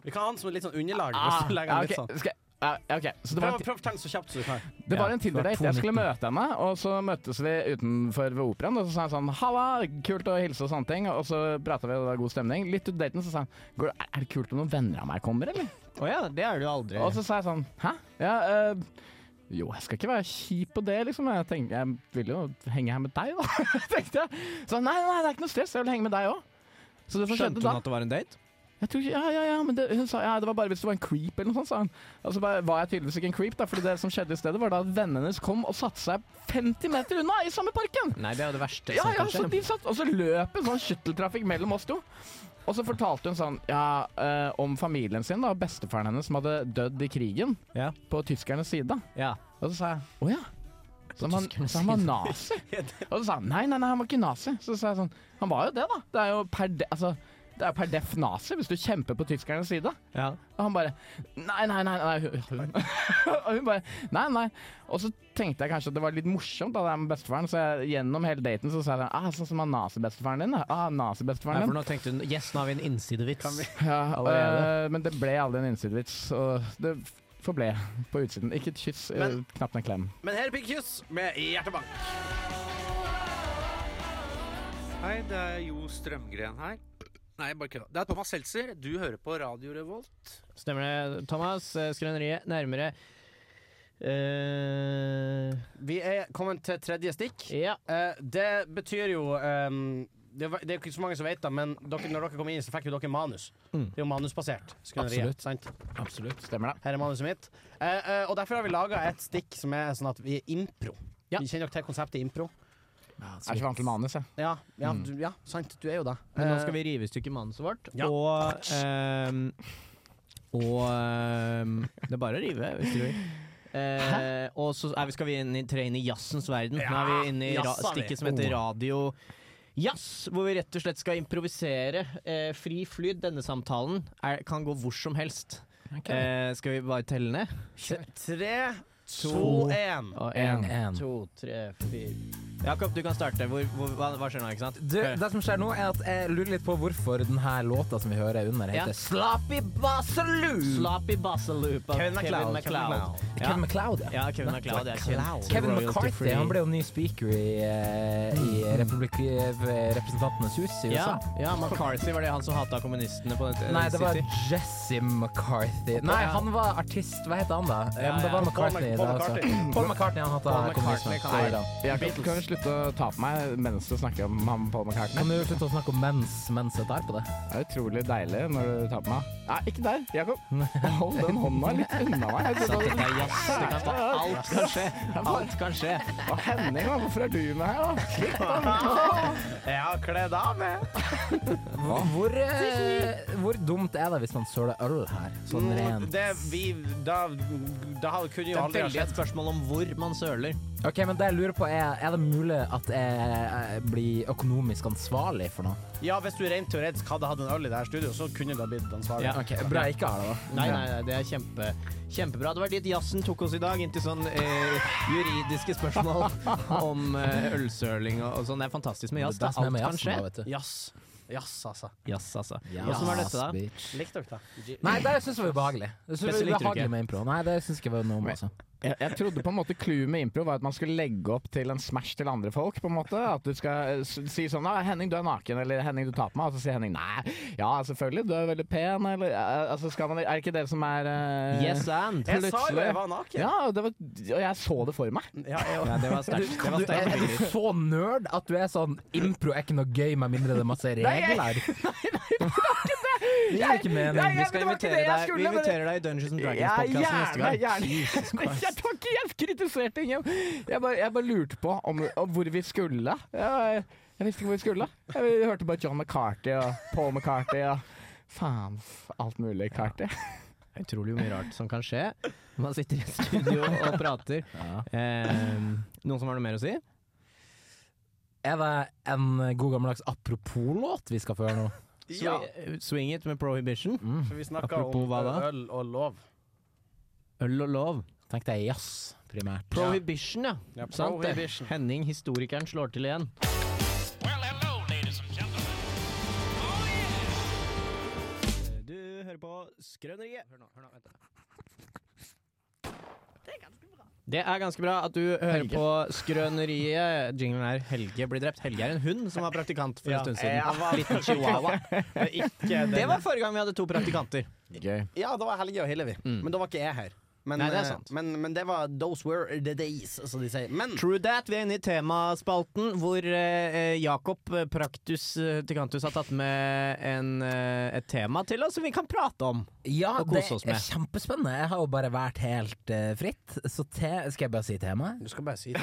Speaker 7: Vi kan ha han som et litt sånn underlag.
Speaker 3: ah,
Speaker 7: hvis du legger han
Speaker 3: ok,
Speaker 7: litt sånn.
Speaker 3: skal jeg- ja, OK. Så det var
Speaker 7: Prøv, prøv å tenke så kjapt som du kan.
Speaker 3: Det var
Speaker 5: Ja,
Speaker 3: en
Speaker 5: det
Speaker 3: Tinder-date.
Speaker 5: var
Speaker 3: Jeg skulle møte henne, og så møttes vi utenfor ved operaen. Og så sa han sånn 'halla, kult å hilse' og sånne ting. Og så prata vi, og det var god stemning. Litt ut daten så sa han Går, det- 'er det kult om noen venner av meg kommer', eller?
Speaker 4: Å ja, det er du aldri.
Speaker 3: Og så sa jeg sånn 'hæ? Ja, eh, jo, jeg skal ikke være kjip på det, liksom. Jeg tenkte, jeg vil jo henge her med deg, da. tenkte jeg. Så han, nei, nei, det er ikke noe stress, jeg vil henge med deg òg. Så det som
Speaker 4: Skjønte
Speaker 3: skjedde
Speaker 4: hun
Speaker 3: da
Speaker 4: at det var en date?
Speaker 3: jeg tror, ikke- ja, ja, ja, men det, hun sa, ja, det var bare hvis du var en creep eller noe sånt, sa hun. Og så bare, var jeg tydeligvis ikke en creep, da, fordi det som skjedde i stedet var da at vennene hennes kom og satte seg 50 meter unna i samme parken.
Speaker 4: Nei, det er jo det verste
Speaker 3: Ja,
Speaker 4: som
Speaker 3: ja,
Speaker 4: kan
Speaker 3: så
Speaker 4: skje.
Speaker 3: de satt, og så løp en sånn skytteltrafikk mellom oss to. Og så fortalte hun sånn, ja, eh, om familien sin da, og bestefaren hennes som hadde dødd i krigen
Speaker 4: Ja.
Speaker 3: på tyskernes side.
Speaker 4: Ja.
Speaker 3: Og så sa jeg, åja. Så han,
Speaker 4: tyskernes
Speaker 3: så han var nazi. Og så sa han, nei, nei, nei, han var ikke nazi. Så sa jeg sånn, han var jo det da. Det er jo per, de, altså, det er jo per def nazi hvis du kjemper på tyskernes side.
Speaker 4: Ja.
Speaker 3: Og han bare Nei, nei, nei. nei. hun- Og hun bare Nei, nei. Og så tenkte jeg kanskje at det var litt morsomt, da, det her med bestefaren. Så jeg, gjennom hele daten så sa jeg ah, sånn som han nazibestefaren din. da. Ah,
Speaker 4: Nei,
Speaker 3: nazibestefaren
Speaker 4: for
Speaker 3: din.
Speaker 4: nå tenkte hun Yes, nå har vi en innsidevits.
Speaker 3: Ja,
Speaker 4: allerede.
Speaker 3: øh, men det ble aldri en innsidevits. Og det forble på utsiden. Ikke et kyss, øh,
Speaker 7: Men-
Speaker 3: knapt en klem.
Speaker 7: Men her er Pikkjus med hjertebank.
Speaker 8: Hei, det er Jo Strømgren her. Nei, bare kødda. Det er Thomas Seltzer. Du hører på Radio Revolt.
Speaker 4: Stemmer det, Thomas? Eh, Skrøneriet nærmere. Eh,
Speaker 2: Vi er kommet til tredje stikk.
Speaker 4: ja.
Speaker 2: Eh, det betyr jo ehm, det, var, det er jo ikke så mange som vet det, men dere, når dere kom inn, så fikk jo dere manus.
Speaker 4: Mm.
Speaker 2: Det er jo manusbasert. skrøneriet,
Speaker 3: Absolutt.
Speaker 2: Sant?
Speaker 3: Absolutt. Stemmer det.
Speaker 2: Her er manuset mitt. Eh, eh, og derfor har vi laga et stikk som er sånn at vi er impro.
Speaker 4: Ja.
Speaker 2: Kjenner dere til konseptet impro?
Speaker 3: Jeg er ikke vant til manus, jeg.
Speaker 2: Ja, ja, du, ja sant. Du er jo det.
Speaker 4: Mm. Men nå skal vi rive i stykker manuset vårt,
Speaker 2: Eh, Ja.
Speaker 4: og ehm, Og ehm, Det er bare å rive, hvis du vil. Eh, og så er vi, skal vi inn i, tre inn i jazzens verden. Nå er vi inne i ra
Speaker 2: jazz er vi. Oh.
Speaker 4: stikket som heter Radio Jazz, hvor vi rett og slett skal improvisere. Eh, fri flyt. Denne samtalen er, kan gå hvor som helst. Eh, skal vi bare telle ned?
Speaker 2: Tre, to,
Speaker 4: To.
Speaker 2: én.
Speaker 4: Og
Speaker 3: En.
Speaker 4: en,
Speaker 5: En.
Speaker 4: to, tre, fire Jakob, du kan starte. Hvor, hvor, hva, hva skjer nå, ikke sant?
Speaker 5: Du, det som skjer nå, er at jeg lurer litt på hvorfor denne låta som vi hører under,
Speaker 4: Ja.
Speaker 5: heter Sloppy Basaloo.
Speaker 4: Sloppy Bassaloop av Kevin MacLeod. Ja.
Speaker 5: Kevin MacLeod,
Speaker 4: ja, Kevin MacLeod er kjent.
Speaker 5: Kevin
Speaker 4: Royalty
Speaker 5: McCarthy
Speaker 4: free.
Speaker 5: han ble jo ny speaker i, eh, i Republik eh, Representantenes hus i
Speaker 4: ja,
Speaker 5: USA.
Speaker 4: ja, McCarthy var det han som hata kommunistene på den
Speaker 5: Nei, det var
Speaker 4: City.
Speaker 5: Jesse McCarthy. Nei, han var artist. Hva heter han, da? Ja, men det
Speaker 4: ja.
Speaker 5: var McCartney.
Speaker 7: Paul
Speaker 5: det, altså.
Speaker 7: McCartney.
Speaker 5: Paul McCartney han hatt
Speaker 4: Paul
Speaker 5: kommunisme.
Speaker 4: McCartney, kan
Speaker 5: Så er han.
Speaker 3: Jakob, kan vi slutte å ta på meg mens du snakker om ham Paul McCartney?
Speaker 5: Kan du slutte å snakke om mens mens jeg tar på det?
Speaker 3: Det er utrolig deilig når du tar på meg. Nei, ikke der, Jakob. Hold den hånda litt unna meg. Jeg
Speaker 4: Så
Speaker 3: tror
Speaker 4: det
Speaker 3: det
Speaker 4: er jazz, det kan stå. Alt kan skje. Alt kan skje.
Speaker 3: var Henning, da. Hvorfor er du med her, da? Slipp den.
Speaker 2: Jeg har kledd av
Speaker 4: eh.
Speaker 2: meg.
Speaker 5: Hvor, eh, hvor dumt er det hvis man søler øl her? Sånn
Speaker 2: Mm,
Speaker 5: rent.
Speaker 2: Det, vi, da, da hadde-
Speaker 4: Det
Speaker 2: kunne jo
Speaker 4: er
Speaker 2: aldri
Speaker 4: veldig
Speaker 2: ha
Speaker 4: et
Speaker 2: skjedd.
Speaker 4: spørsmål om hvor man søler.
Speaker 5: Ok, men det jeg lurer på er, er det mulig at jeg, jeg blir økonomisk ansvarlig for noe?
Speaker 2: Ja, hvis du rent teoretisk hadde hatt en øl i det her studioet, så kunne du ha blitt ansvarlig.
Speaker 4: Ja.
Speaker 5: Ok, Bra jeg ikke har det, da.
Speaker 4: Nei, nei, nei, det er kjempe, kjempebra. Det var dit jazzen tok oss i dag, inntil sånn eh, juridiske spørsmål om eh, ølsøling og, og sånn. Det er fantastisk med jazz.
Speaker 5: Det
Speaker 4: Det
Speaker 5: er
Speaker 4: er
Speaker 5: som er med
Speaker 4: alt kan
Speaker 5: jazzen,
Speaker 4: skje.
Speaker 5: da, vet du.
Speaker 2: Jazz. Jazz, altså.
Speaker 4: Jazz, altså. Åssen var dette, da?
Speaker 5: bitch.
Speaker 2: Likte dere det?
Speaker 5: Nei, det syns jeg var ubehagelig. Det synes
Speaker 4: Dette
Speaker 5: jeg var
Speaker 4: likte du
Speaker 5: ubehagelig
Speaker 4: ikke.
Speaker 5: med impro. Nei, det syns jeg ikke var noe om, altså.
Speaker 3: Jeg, jeg trodde på en måte clouet med impro var at man skulle legge opp til en smash til andre folk. på en måte At du skal eh, s- si sånn «Nei, 'Henning, du er naken', eller 'Henning, du tar på meg', og så sier Henning 'nei'. Ja, selvfølgelig, du er veldig pen, eller eh, altså, skal man, Er det ikke dere som er eh,
Speaker 4: Yes and.
Speaker 2: Jeg sa jo
Speaker 3: Plutselig.
Speaker 2: jeg var naken.
Speaker 3: Ja, og det var, og jeg så det for meg.
Speaker 2: Ja, jeg,
Speaker 4: Ja, det var sterkt. Det var
Speaker 5: Du, er,
Speaker 4: sterkt.
Speaker 5: er du så nerd at du er sånn Impro er ikke noe gøy med mindre det er masse regler? Nei, det er ikke meningen.
Speaker 4: Vi skal invitere deg, vi inviterer deg i Dungeons and
Speaker 3: Ja,
Speaker 4: Dragons-podkasten neste
Speaker 3: gjerne,
Speaker 4: gang.
Speaker 3: gjerne. Men Jeg tar ikke jeg kritiserte ingen. Jeg bare, jeg bare lurte på om, om hvor vi skulle. Jeg, jeg visste ikke hvor vi skulle. Jeg hørte bare John McCarthy og Paul McCarthy og faen f- alt mulig Carthy.
Speaker 4: Utrolig mye rart som kan skje. Man sitter i studio og prater. Eh, noen som har noe mer å si?
Speaker 5: Er det en god gammeldags apropos-låt vi skal få høre nå?
Speaker 2: ja.
Speaker 4: Swi- Swing it med Prohibition.
Speaker 2: For vi snakka
Speaker 4: Apropos
Speaker 2: om
Speaker 4: hva da?
Speaker 2: øl og lov.
Speaker 4: Øl og lov.
Speaker 5: Tenkte jeg jazz, primært.
Speaker 4: Prohibition, ja.
Speaker 2: Ja,
Speaker 4: Sant det.
Speaker 2: prohibition.
Speaker 4: Henning, historikeren, slår til igjen. Du hører på Skrøneriet. Hør nå, hør nå, vent da. Det er ganske bra at du hører på Skrøneriet. Jinglen er Helge blir drept. Helge er en hund som var praktikant for en stund siden. Liten chihuahua. Det var forrige gang vi hadde to praktikanter.
Speaker 3: Gøy.
Speaker 2: Ja, da var Helge og Hillevi.
Speaker 4: Mm.
Speaker 2: Men da var ikke jeg her. Men,
Speaker 4: Nei, det er
Speaker 2: eh,
Speaker 4: sant.
Speaker 2: Men, men det var those were the days, som de sier. Men
Speaker 4: True that. Vi er inne i temaspalten hvor eh, Jakob eh, Praktus eh, Tikantus har tatt med en, eh, et tema til oss som vi kan prate om.
Speaker 5: Ja,
Speaker 4: Og
Speaker 5: det
Speaker 4: kose oss med.
Speaker 5: er kjempespennende. Jeg har jo bare vært helt eh, fritt. Så te skal jeg bare si temaet?
Speaker 2: Du skal bare si det.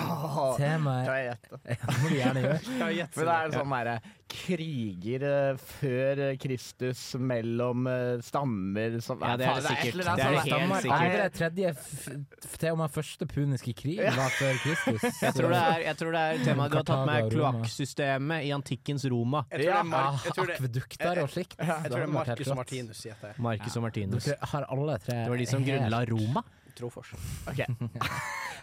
Speaker 5: Temaet
Speaker 3: jeg gjette?
Speaker 5: Ja, det må du gjerne gjøre.
Speaker 3: For det er sånn derre kriger eh, før Kristus mellom eh, stammer som
Speaker 4: Ja, det er det
Speaker 3: Faen, et
Speaker 4: sikkert.
Speaker 3: eller annet
Speaker 4: Det er
Speaker 3: sånt.
Speaker 4: det helt
Speaker 5: Stammer-
Speaker 4: sikkert.
Speaker 5: Nei, det er tredje f- f- Til og med første puniske krig var før Kristus.
Speaker 4: Jeg tror det er, jeg tror det er temaet du har tatt med
Speaker 5: Kartago, Roma.
Speaker 4: kloakksystemet i antikkens Roma.
Speaker 2: Jeg tror det er, Mark, jeg tror det,
Speaker 5: Akvedukter og slikt.
Speaker 2: jeg tror det er Marcus og Martinus i dette.
Speaker 4: Marcus og Martinus.
Speaker 5: Dere har alle tre
Speaker 4: Det var de som
Speaker 5: helt
Speaker 4: grunnla Roma.
Speaker 2: Trofors.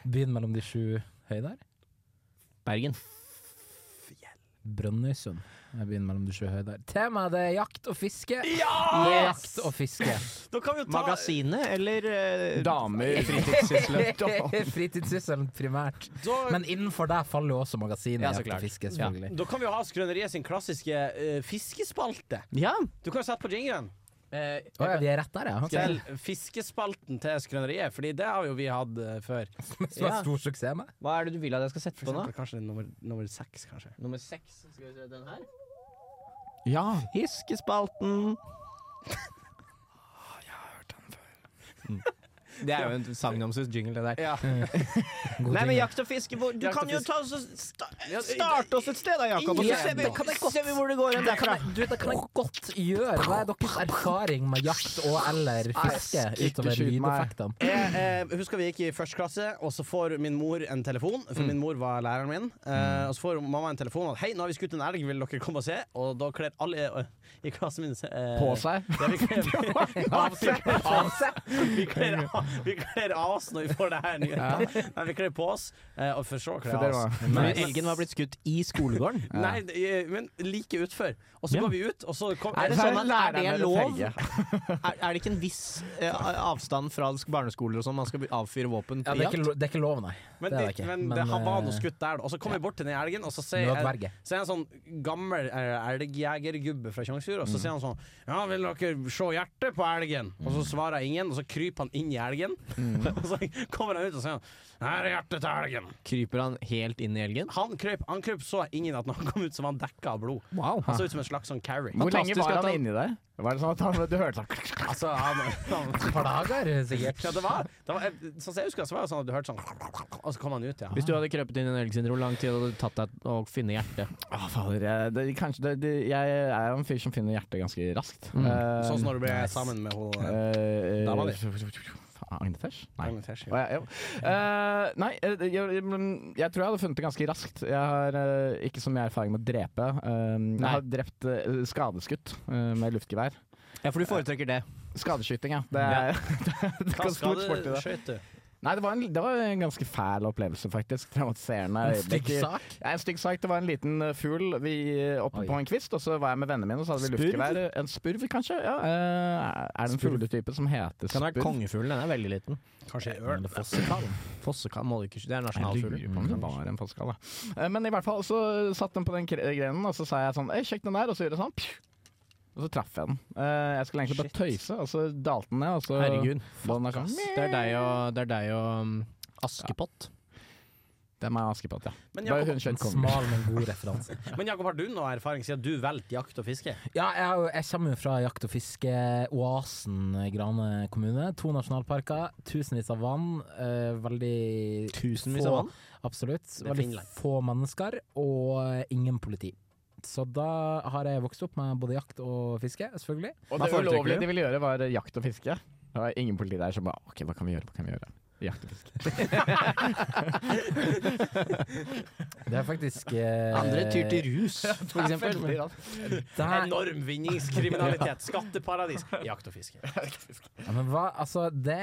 Speaker 5: Byen mellom de sju høyder?
Speaker 4: Bergen.
Speaker 5: Brønnøysund er byen mellom de sju høyder. Temaet det er jakt og fiske. Jakt og fiske.
Speaker 4: Magasinet eller eh,
Speaker 3: Damer
Speaker 5: Fritidssysselen primært. Men innenfor der faller jo også magasinet
Speaker 4: Ja, så
Speaker 5: jakt
Speaker 4: klart.
Speaker 5: og fiske, selvfølgelig.
Speaker 2: Da kan vi jo ha Skrøneriet sin klassiske eh, fiskespalte.
Speaker 4: Ja.
Speaker 2: Du kan jo sette på jingeren. Eh,
Speaker 5: Å ja, vi er rett der, ja.
Speaker 2: til fiskespalten til Skrøneriet, Fordi det har jo vi hatt eh, før.
Speaker 5: Som var stor suksess med.
Speaker 4: Hva er det du vil at jeg skal sette
Speaker 2: For
Speaker 4: på nå?
Speaker 2: eksempel kanskje nummer, nummer seks, kanskje.
Speaker 4: Nummer seks. Skal vi se den her?
Speaker 3: Ja.
Speaker 4: Fiskespalten. Det er jo en sagnomsust jingle, det der. Nei, men jakt og fiske hvor- Du
Speaker 2: Jakt
Speaker 4: kan
Speaker 2: og
Speaker 4: jo
Speaker 2: fiske.
Speaker 4: ta oss og sta starte oss et sted, da, Jakob. Og så
Speaker 5: Ja,
Speaker 4: ser vi,
Speaker 5: det kan jeg
Speaker 4: ser vi hvor det går hen derfra.
Speaker 5: Du, det kan jeg godt gjøre. Hva er deres erfaring med jakt og eller fiske utover
Speaker 3: skyt meg.
Speaker 5: lydeffektene?
Speaker 2: Jeg eh, husker vi gikk i første klasse, og så får min mor en telefon. For
Speaker 4: Mm.
Speaker 2: min mor var læreren min. Eh, og så får mamma en telefon at 'hei, nå har vi skutt en elg, vil dere komme og se?' Og da kler alle eh, i klassen min se- eh,
Speaker 3: På seg.
Speaker 2: Ja, vi kler av seg. Av
Speaker 3: altså.
Speaker 2: seg. Vi kler av, vi kler av oss når vi får det her nyheten. Nei, vi kler på oss, eh, og for så kler
Speaker 3: For
Speaker 2: vi av
Speaker 3: det
Speaker 2: oss.
Speaker 3: var-
Speaker 4: Men elgen var blitt skutt i skolegården.
Speaker 2: Nei, det- eh, men like utfor. Og så
Speaker 4: Ja.
Speaker 2: går vi ut, og så kom,
Speaker 4: Er det sånn at er det
Speaker 3: Læreren
Speaker 4: lov?
Speaker 3: deres
Speaker 4: Er, er det ikke en viss eh, avstand fra barneskoler og sånn man skal avfyre våpen
Speaker 5: Ja,
Speaker 4: på
Speaker 5: det er,
Speaker 4: jakt?
Speaker 5: ikke, lo- det er ikke lov, nei.
Speaker 2: Men det,
Speaker 5: det er det ikke.
Speaker 2: men
Speaker 5: Men,
Speaker 2: det han var
Speaker 5: eh,
Speaker 2: noe skutt der, da. Og så kom jeg bort til den elgen, og så sier jeg
Speaker 5: Nødverge.
Speaker 2: Så er han sånn gammel eh, elgjegergubbe fra Tjongsfjord, og så sier han sånn Ja, vil dere se hjertet på elgen? Og så svarer ingen, og så kryper han inn i elgen.
Speaker 3: Mm.
Speaker 2: og så kommer han ut og sier han Her er hjertet til elgen.
Speaker 4: Kryper han helt inn i elgen?
Speaker 2: Han krøp, han krøp så inn i den at når han kom ut, så var han dekka av blod.
Speaker 4: Wow.
Speaker 2: Han så ut som en slags sånn carry.
Speaker 3: Hvor lenge
Speaker 4: Fantastisk
Speaker 3: var
Speaker 4: at
Speaker 3: han
Speaker 4: han-
Speaker 3: inni der? Var det sånn at han, du hørte sånn
Speaker 2: Altså, han, han
Speaker 5: Et par dager, sikkert.
Speaker 2: Ja, det var, det var Sånn som jeg husker, det, så var det sånn at du hørte sånn Og så kom han ut, ja.
Speaker 4: Hvis du hadde krøpet inn i en elg, Sindre, hvor lang tid hadde det tatt deg å finne hjertet?
Speaker 3: Å, fader. Jeg, det, kanskje, det, det, jeg er jo en fyr som finner hjertet ganske raskt.
Speaker 4: Mm.
Speaker 3: Eh,
Speaker 2: Sånn som når du ble sammen med hun eh,
Speaker 3: eh,
Speaker 2: Da var det.
Speaker 3: Faen, Agnetesh? Nei.
Speaker 2: Agnes Hersey.
Speaker 3: Å, ja, jo. Eh, nei, eh, jeg, jeg, men jeg tror jeg hadde funnet det ganske raskt. Jeg har eh, ikke så mye erfaring med å drepe. Eh, jeg har drept eh, skadeskutt eh, med luftgevær.
Speaker 4: Ja, for du foretrekker det.
Speaker 3: Skadeskyting, ja. Det er, det er
Speaker 2: Hva
Speaker 3: ganske stort sport i det.
Speaker 2: skøyt du?
Speaker 3: Nei, det var, en, det var en ganske fæl opplevelse, faktisk. Traumatiserende øyeblikk.
Speaker 5: Stygg sak.
Speaker 3: Ja, en stygg sak. Det var en liten eh, fugl vi, eh,
Speaker 5: Oi.
Speaker 3: oppe på en kvist, og så var jeg med vennene mine, og så hadde vi
Speaker 4: Spurv?
Speaker 3: luftgevær. En spurv, kanskje? Ja, eh, er det en
Speaker 4: Spurv.
Speaker 3: fugletype som heter
Speaker 4: Kan være
Speaker 3: spurv?
Speaker 4: kongefuglen, den er veldig liten.
Speaker 2: Kanskje ørn?
Speaker 4: Eller fossekall. Fossekall må du ikke Det er
Speaker 3: Jeg lurer på om Mm, det
Speaker 4: nasjonalfuglen. Mm.
Speaker 3: var en postkall, da. Eh, Men i hvert fall så satt den på den kre- grenen, og så sa jeg sånn «Ei, Sjekk den der, og så gjorde jeg sånn. pju. Og så traff jeg den. Eh, Jeg skulle egentlig bare tøyse, og så dalte den ned, og så
Speaker 4: Herregud.
Speaker 3: lå den der sånn.
Speaker 4: Det er deg og, det er deg og um, Askepott.
Speaker 3: Det er meg og Askepott, ja.
Speaker 2: Men
Speaker 3: Bare
Speaker 2: Jakob,
Speaker 3: hun kjøtt
Speaker 5: En
Speaker 3: kongen.
Speaker 5: smal, men god referanse.
Speaker 2: men Jakob, har du noe erfaring siden du valgte jakt og fiske?
Speaker 5: Ja, jeg, er jo- jeg kommer jo fra jakt- og fiskeoasen Grane kommune. To nasjonalparker, tusenvis av vann. Eh, veldig
Speaker 4: Tusenvis
Speaker 5: få-
Speaker 4: av vann.
Speaker 5: Absolutt.
Speaker 2: er
Speaker 5: Veldig
Speaker 2: Finland.
Speaker 5: få mennesker, og eh, ingen politi. Så da har jeg vokst opp med både jakt og fiske, selvfølgelig.
Speaker 3: Og
Speaker 4: Hva
Speaker 3: det
Speaker 4: foretrekker
Speaker 3: ulovlige
Speaker 4: du?
Speaker 3: de ville gjøre, var eh, jakt og fiske. Det var ingen politi der som bare OK, hva kan vi gjøre? Hva kan vi gjøre? Jakt og fiske.
Speaker 5: Det er faktisk eh,
Speaker 4: Andre tyr til rus, for eksempel.
Speaker 3: Veldig rart.
Speaker 5: der,
Speaker 2: Enorm vinningskriminalitet. Skatteparadis. Jakt og fiske.
Speaker 5: Ja, Men hva, altså det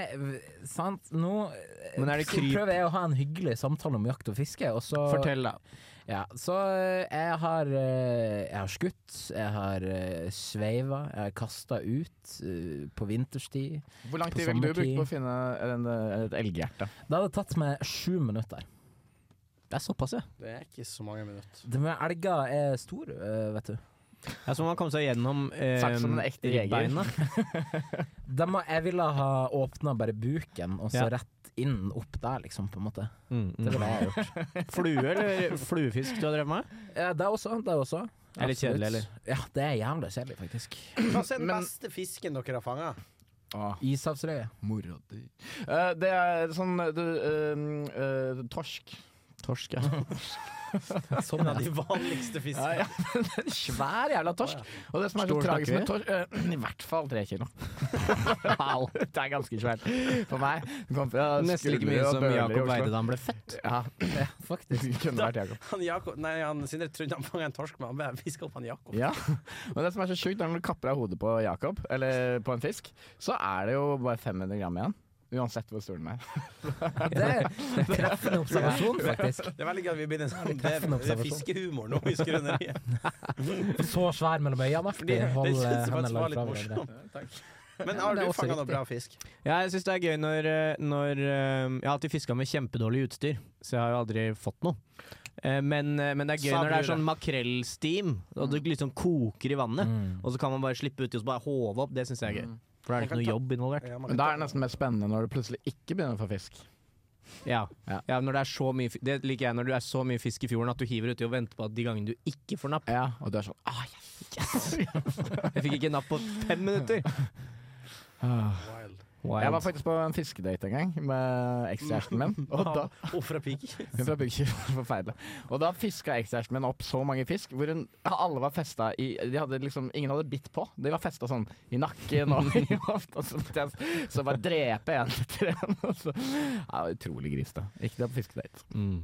Speaker 5: Sant, nå eh,
Speaker 4: Men er det
Speaker 5: så
Speaker 4: kryp-
Speaker 5: prøver jeg å ha en hyggelig samtale om jakt og fiske, og så
Speaker 4: Fortell, da.
Speaker 5: Ja, så eh, jeg har eh, Jeg har skutt, jeg har eh, sveiva, jeg har kasta ut eh, på vinterstid.
Speaker 3: Hvor lang
Speaker 5: På
Speaker 3: tid ville du brukt
Speaker 5: sommertid.
Speaker 3: på å finne en, eh, et elghjerte?
Speaker 5: Det hadde tatt meg sju minutter.
Speaker 4: Det er såpass, ja.
Speaker 2: Det er ikke så mange minutter.
Speaker 5: Det med elger er stor, eh, vet du.
Speaker 4: Ja, så må man komme seg gjennom eh,
Speaker 3: Sagt som en ekte jeger.
Speaker 4: ribbeina.
Speaker 5: De, må- jeg ville ha åpna bare buken, og så
Speaker 4: Ja.
Speaker 5: rett inn opp der, liksom, på en måte.
Speaker 4: Mm,
Speaker 5: Det
Speaker 4: mm.
Speaker 5: ville jeg gjort.
Speaker 4: Flue eller fluefisk du har drevet med?
Speaker 5: Ja, det også. Det også.
Speaker 4: Er litt
Speaker 5: Absolutt.
Speaker 4: kjedelig, eller?
Speaker 5: Ja, det er jævlig kjedelig, faktisk.
Speaker 2: Hva er den
Speaker 3: Men-
Speaker 2: beste fisken dere har fanga?
Speaker 3: Ah,
Speaker 5: Ishavsrøye.
Speaker 3: moro di. Eh, det er sånn eh, du, eh, eh, Torsk. Torsk, ja.
Speaker 2: Sånn er de vanligste fiskene.
Speaker 3: ja, men en svær jævla torsk. Og det som er så
Speaker 4: Stor
Speaker 3: tragisk med
Speaker 4: snakker
Speaker 3: torsk eh, I hvert fall tre kilo. Au. det er ganske svært for meg. Det kom fra
Speaker 4: Nesten like
Speaker 3: Skullerud
Speaker 4: mye
Speaker 3: og
Speaker 4: som
Speaker 3: Bøhler i Oslo.
Speaker 4: Jakob Veide da han ble født.
Speaker 3: Ja,
Speaker 5: Faktisk.
Speaker 3: det kunne vært Jakob.
Speaker 2: Han Jakob, nei, han Sindre trodde han fanga en torsk, men han bare fiska opp han Jakob.
Speaker 3: Ja, men det som er så sjukt er når du kapper av hodet på Jakob, eller på en fisk, så er det jo bare 500 gram igjen. Uansett hvor stor den er.
Speaker 5: Det er det er treffende observasjon, faktisk.
Speaker 2: Det er veldig gøy at vi begynner sånn. Det
Speaker 5: treffende
Speaker 2: det er
Speaker 5: observasjon.
Speaker 2: fiskehumor nå i skrøneriet.
Speaker 5: Så svær mellom
Speaker 2: Det,
Speaker 5: øynene. aktig. Hold
Speaker 2: det
Speaker 5: eh,
Speaker 2: synes jeg faktisk
Speaker 5: hendene
Speaker 2: var litt
Speaker 5: langt fra hverandre.
Speaker 2: morsomt. Men har
Speaker 5: det er
Speaker 2: du
Speaker 5: også
Speaker 2: fanga noe
Speaker 5: riktig.
Speaker 2: bra fisk?
Speaker 4: Ja, jeg syns det er gøy når, eh, når eh, Jeg har alltid fiska med kjempedårlig utstyr, så jeg har jo aldri fått noe. Eh, Men, eh, men det er gøy når det er sånn makrellsteam, og det liksom koker i vannet.
Speaker 5: Mm.
Speaker 4: Og så kan man bare slippe uti og så bare håve opp. Det syns jeg er gøy.
Speaker 3: Mm.
Speaker 4: For da er det ikke noe jobb involvert.
Speaker 2: Ja, man
Speaker 3: Men
Speaker 2: kan
Speaker 3: da
Speaker 2: ta-
Speaker 3: er det nesten mest spennende når du plutselig ikke begynner å få fisk.
Speaker 4: Ja.
Speaker 3: Ja.
Speaker 4: ja, når Det er så mye fi- Det liker jeg når du er så mye fisk i fjorden at du hiver uti og venter på at de gangene du ikke får napp
Speaker 3: Ja, og du er sånn ah, yes, yes.
Speaker 4: Jeg fikk ikke napp på fem minutter! Wild.
Speaker 3: Ah, Jeg var faktisk på en fiskedate en gang med ekskjæresten min. Og da,
Speaker 2: Hvorfor er pik?
Speaker 3: hun fra Bygdkjøp, forferdelig. Og da fiska ekskjæresten min opp så mange fisk, hvor hun, alle var festa i de hadde liksom, Ingen hadde bitt på. De var festa sånn i nakken og i hofta. og Så, måtte jeg- så bare drepe en etter en. og så- Ja, det var utrolig gris, da. Ikke det på fiskedate.
Speaker 4: mm.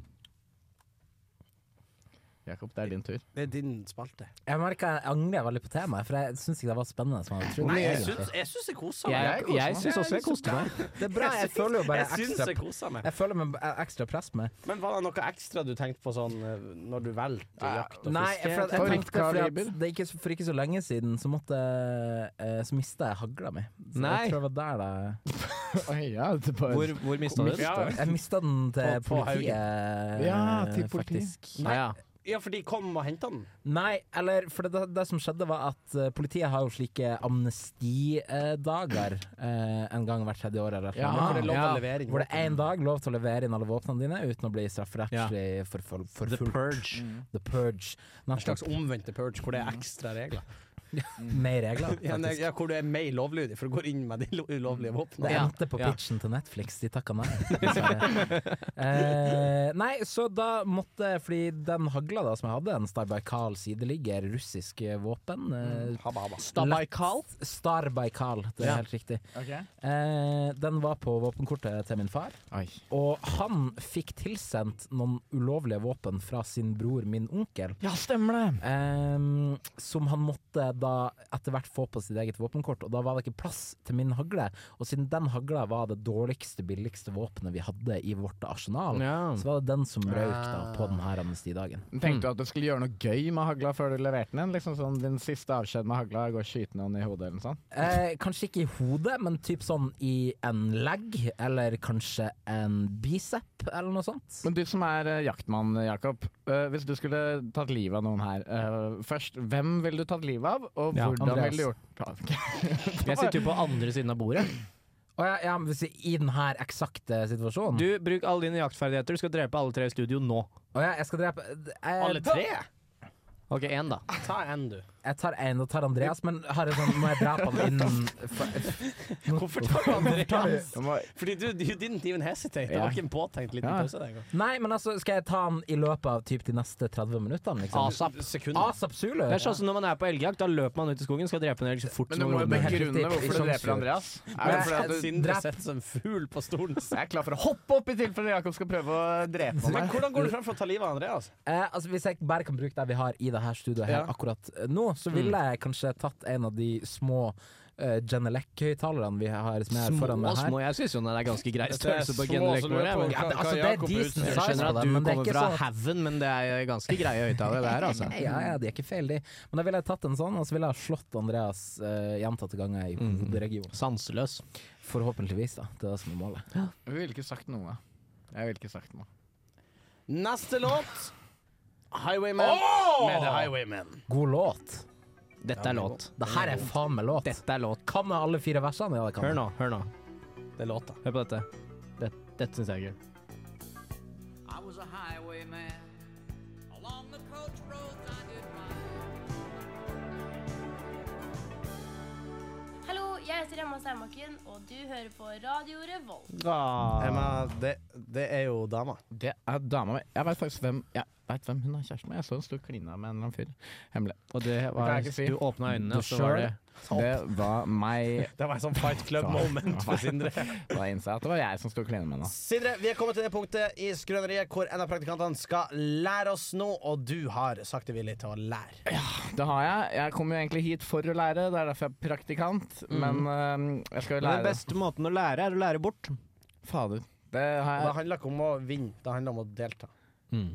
Speaker 3: Jakob, det er din tur.
Speaker 2: Det er din spalte.
Speaker 5: Jeg merker jeg angrer veldig på temaet, for jeg syns ikke det var spennende som jeg hadde trodd.
Speaker 2: Nei, jeg
Speaker 5: egentlig.
Speaker 2: syns jeg syns jeg koser meg.
Speaker 4: Jeg, jeg syns også jeg koste meg.
Speaker 5: Det er bra, jeg føler jo bare
Speaker 2: Jeg syns
Speaker 5: ekstra
Speaker 2: jeg koser meg.
Speaker 5: Jeg føler meg eh, ekstra press med
Speaker 2: Men var det noe ekstra du tenkte på sånn eh, når du valgte jakt og
Speaker 5: Nei,
Speaker 2: fiske?
Speaker 5: for at jeg
Speaker 3: Favoritt
Speaker 5: tenkte fordi at
Speaker 3: kaliber?
Speaker 5: det er ikke, så- for ikke så lenge siden så måtte eh, Så mista jeg hagla mi. Så
Speaker 4: Nei.
Speaker 5: jeg tror det var der det
Speaker 3: Oi, ja, det var-
Speaker 4: Hvor, hvor mista du den?
Speaker 5: Jeg mista den til
Speaker 2: På- på
Speaker 5: politiet,
Speaker 3: Ja, til
Speaker 5: eh,
Speaker 3: politiet.
Speaker 5: faktisk.
Speaker 3: Ah,
Speaker 4: Nei, ja.
Speaker 2: Ja, for de kom og henta den.
Speaker 5: Nei, eller for det, det som skjedde var at eh, politiet har jo slike amnestidager eh, en gang hvert tredje år eller et eller
Speaker 3: Ja,
Speaker 5: annet.
Speaker 3: for det er lov å
Speaker 5: levere inn Hvor det er én dag lov til å levere inn alle våpnene dine uten å bli strafferettslig forful- forfulgt. The Purge. The Purge.
Speaker 2: En slags omvendte purge hvor det er ekstra regler.
Speaker 5: Mer regler,
Speaker 2: Ja, nei,
Speaker 5: faktisk.
Speaker 2: ja, hvor du er mer lovlydig for du går inn med de lo- ulovlige
Speaker 5: Det
Speaker 2: våpnene.
Speaker 3: Ja.
Speaker 5: endte på
Speaker 3: Ja.
Speaker 5: pitchen til Netflix, de takka nei. dessverre. eh, nei, så da måtte Fordi den hagla da som jeg hadde, en Starbaikal sideligger, russisk eh, våpen eh,
Speaker 2: Habba, habba.
Speaker 5: Starbaikal? Starbaikal, det er
Speaker 3: Ja.
Speaker 5: helt riktig. Eh, den var på våpenkortet til min far,
Speaker 3: Oi.
Speaker 5: og han fikk tilsendt noen ulovlige våpen fra sin bror, min onkel.
Speaker 3: Ja, stemmer det!
Speaker 5: Ehm, som han måtte da etter hvert få på sitt eget våpenkort, og da var det ikke plass til min hagle. Og siden den hagla var det dårligste, billigste våpenet vi hadde i vårt arsenal,
Speaker 3: Ja. Mm.
Speaker 5: så var det den som røyk da på denne amnestidagen.
Speaker 3: Tenkte du at du skulle gjøre noe gøy med hagla før du leverte den? Liksom sånn Din siste avskjed med hagla er å gå og skyte noen i hodet eller noe sånt?
Speaker 5: Eh, kanskje ikke i hodet, men typ sånn i en legg, eller kanskje en bicep, eller noe sånt.
Speaker 3: Men du som er eh, jaktmann, Jakob. eh, hvis du skulle tatt livet av noen her eh, først, hvem ville du tatt livet av, og
Speaker 4: Ja,
Speaker 3: hvordan
Speaker 5: Andreas.
Speaker 3: ville du gjort det?
Speaker 4: Jeg sitter jo på andre siden av bordet.
Speaker 5: Å ja, ja, men hvis jeg, I denne eksakte situasjonen?
Speaker 4: Du, bruk alle dine jaktferdigheter. Du skal drepe alle tre i studio nå.
Speaker 5: Å ja, jeg skal drepe eh,
Speaker 2: Alle tre?
Speaker 4: Ok, én, da.
Speaker 2: Ta en, du.
Speaker 5: Jeg tar en og tar Andreas, men har jeg sånn, må jeg drepe han innen
Speaker 2: Hvorfor tar du Andreas?
Speaker 3: Du må-
Speaker 2: Fordi du, you didn't even hesitate. Det var ikke en påtenkt liten
Speaker 3: Ja.
Speaker 2: pause den gangen.
Speaker 5: Nei, men altså, skal jeg ta han i løpet av typ de neste 30 minuttene? Liksom?
Speaker 4: ASAP.
Speaker 2: Sekunder.
Speaker 5: Asap Zulu?
Speaker 4: Det er sånn som når man er på elgjakt. Da løper man ut i skogen skal drepe en elg så fort
Speaker 3: Men du
Speaker 4: som
Speaker 3: må jo
Speaker 4: overhodet mulig.
Speaker 3: begrunne hvorfor du dreper Andreas. Er det
Speaker 5: Men-
Speaker 3: fordi at du
Speaker 2: Sindre
Speaker 5: drep-
Speaker 2: sitter som fugl på stolen.
Speaker 3: jeg er klar for å hoppe opp i tilfelle Jakob skal prøve å drepe
Speaker 2: Men
Speaker 3: meg.
Speaker 2: hvordan går du fram for å ta livet av Andreas?
Speaker 5: Eh, altså, hvis jeg bare kan bruke det vi har i det her studioet her
Speaker 2: Ja.
Speaker 5: akkurat eh, nå,
Speaker 4: Mm.
Speaker 5: så ville jeg kanskje tatt en av de små uh, Genelec-høyttalerne vi har som er foran
Speaker 4: Små,
Speaker 5: meg her.
Speaker 4: små. Jeg syns jo den er ganske grei
Speaker 2: Dette er
Speaker 4: størrelse på
Speaker 2: små, så du er på-
Speaker 4: generekoren.
Speaker 5: Ja, det, altså, det er decent
Speaker 4: Jeg
Speaker 5: size
Speaker 4: skjønner
Speaker 5: på
Speaker 4: at
Speaker 5: dem,
Speaker 4: du
Speaker 5: men det er
Speaker 4: altså, kommer
Speaker 5: ikke
Speaker 4: fra
Speaker 5: sånn at
Speaker 4: haugen, men det er ganske greie høyttalere, det her, altså.
Speaker 5: Nei, ja, ja, de er ikke feil, de. Men da ville jeg tatt en sånn, og så ville jeg slått Andreas eh, gjentatte ganger i
Speaker 4: Mm.
Speaker 5: hoderegionen.
Speaker 4: Sanseløs.
Speaker 5: Forhåpentligvis, da. Det er det som er målet.
Speaker 3: Jeg ville ikke sagt noe. Jeg ville ikke sagt noe.
Speaker 2: Neste låt. Highwayman med The Highwayman.
Speaker 5: God låt.
Speaker 4: Dette er låt.
Speaker 5: Det her er faen meg låt.
Speaker 4: Dette er låt.
Speaker 5: Kan jeg alle fire versene? Ja, det kan
Speaker 4: Hør
Speaker 5: jeg.
Speaker 4: nå, hør nå.
Speaker 2: Det er låta.
Speaker 4: Hør på dette. Dette, dette syns jeg er gøy.
Speaker 9: I was a highwayman. Along the coach roads I did ride.
Speaker 10: Hallo, jeg heter Emma Steinbakken, og du hører på Radio Revolt.
Speaker 2: Ah. Emma, det, det er jo dama.
Speaker 3: Det er dama mi. Jeg veit faktisk hvem, jeg vet hvem hun er kjæresten med. Jeg så hun sto og klina med en eller annen fyr. Hemmelig.
Speaker 4: Og det
Speaker 3: kan
Speaker 4: var
Speaker 3: jeg ikke si.
Speaker 4: Du åpna øynene,
Speaker 3: Du
Speaker 4: og så var
Speaker 3: sjøl.
Speaker 4: det
Speaker 3: Det var meg.
Speaker 2: Det var en sånn Fight Club
Speaker 3: Faen.
Speaker 2: moment for Sindre.
Speaker 3: Da innså jeg at det var jeg som sto og klina med henne.
Speaker 2: Sindre, vi er kommet til det punktet i Skrøneriet hvor en av praktikantene skal lære oss noe, og du har sagt deg villig til å lære.
Speaker 3: Det har jeg. Jeg kom jo egentlig hit for å lære, det er derfor jeg er praktikant. Men øhm, jeg skal jo
Speaker 4: Men Den
Speaker 3: lære
Speaker 4: beste måten å lære, er å lære bort.
Speaker 3: Fader. Det har
Speaker 2: Og det
Speaker 3: jeg
Speaker 2: handler ikke om å vinne, det handler om å delta.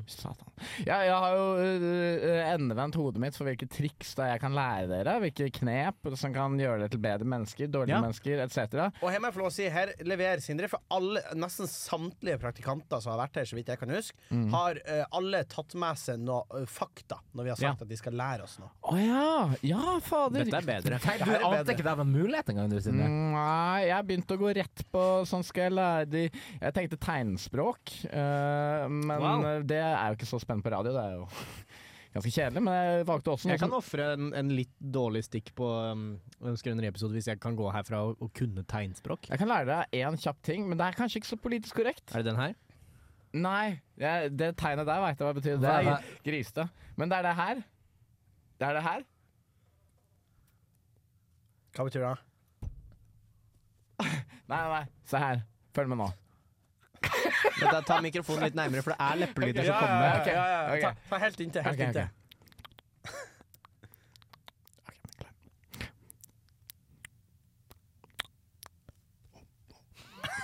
Speaker 3: Satan. Ja, jeg har jo øh, øh, endevendt hodet mitt for hvilke triks da jeg kan lære dere. Hvilke knep som kan gjøre dere til bedre mennesker, dårlige
Speaker 4: Ja.
Speaker 3: mennesker etc.
Speaker 2: Og her må jeg få lov å si, her leverer Sindre, for alle, nesten samtlige praktikanter som har vært her, så vidt jeg kan huske,
Speaker 3: Mm.
Speaker 2: har eh, alle tatt med seg noe eh, fakta når vi har sagt at de skal lære oss noe.
Speaker 3: Å ja! Ja, fader.
Speaker 4: Dette er bedre.
Speaker 5: Nei, du
Speaker 2: Det her er
Speaker 5: ante
Speaker 2: bedre.
Speaker 5: ikke det var en mulighet engang, du, Sindre.
Speaker 3: Mm. Nei, jeg begynte å gå rett på sånn skal jeg lære de Jeg tenkte tegnspråk, eh, men
Speaker 4: Wow.
Speaker 3: eh, det er jo ikke så spennende på radio. Det er jo ganske kjedelig, men jeg valgte også noe
Speaker 4: Jeg kan
Speaker 3: som
Speaker 4: ofre en, en litt dårlig stikk på um, en skrøneriepisode hvis jeg kan gå herfra og, og kunne tegnspråk.
Speaker 3: jeg kan lære deg én kjapp ting, men det er kanskje ikke så politisk korrekt.
Speaker 4: Er det den her?
Speaker 3: Nei, jeg, det tegnet der veit jeg hva det betyr. Det
Speaker 5: Hva er
Speaker 3: er grisete. Men det er det her. Det er det her.
Speaker 2: Hva betyr det?
Speaker 3: Nei, nei, nei. se her. Følg med nå.
Speaker 4: Men da Ta mikrofonen litt nærmere, for det er leppelyder som
Speaker 3: ja,
Speaker 4: kommer.
Speaker 3: ja, ja, ja, ja.
Speaker 2: Ta, ta helt inntil. Helt
Speaker 3: Ok, ok.
Speaker 2: inntil.
Speaker 3: Ok, men klar.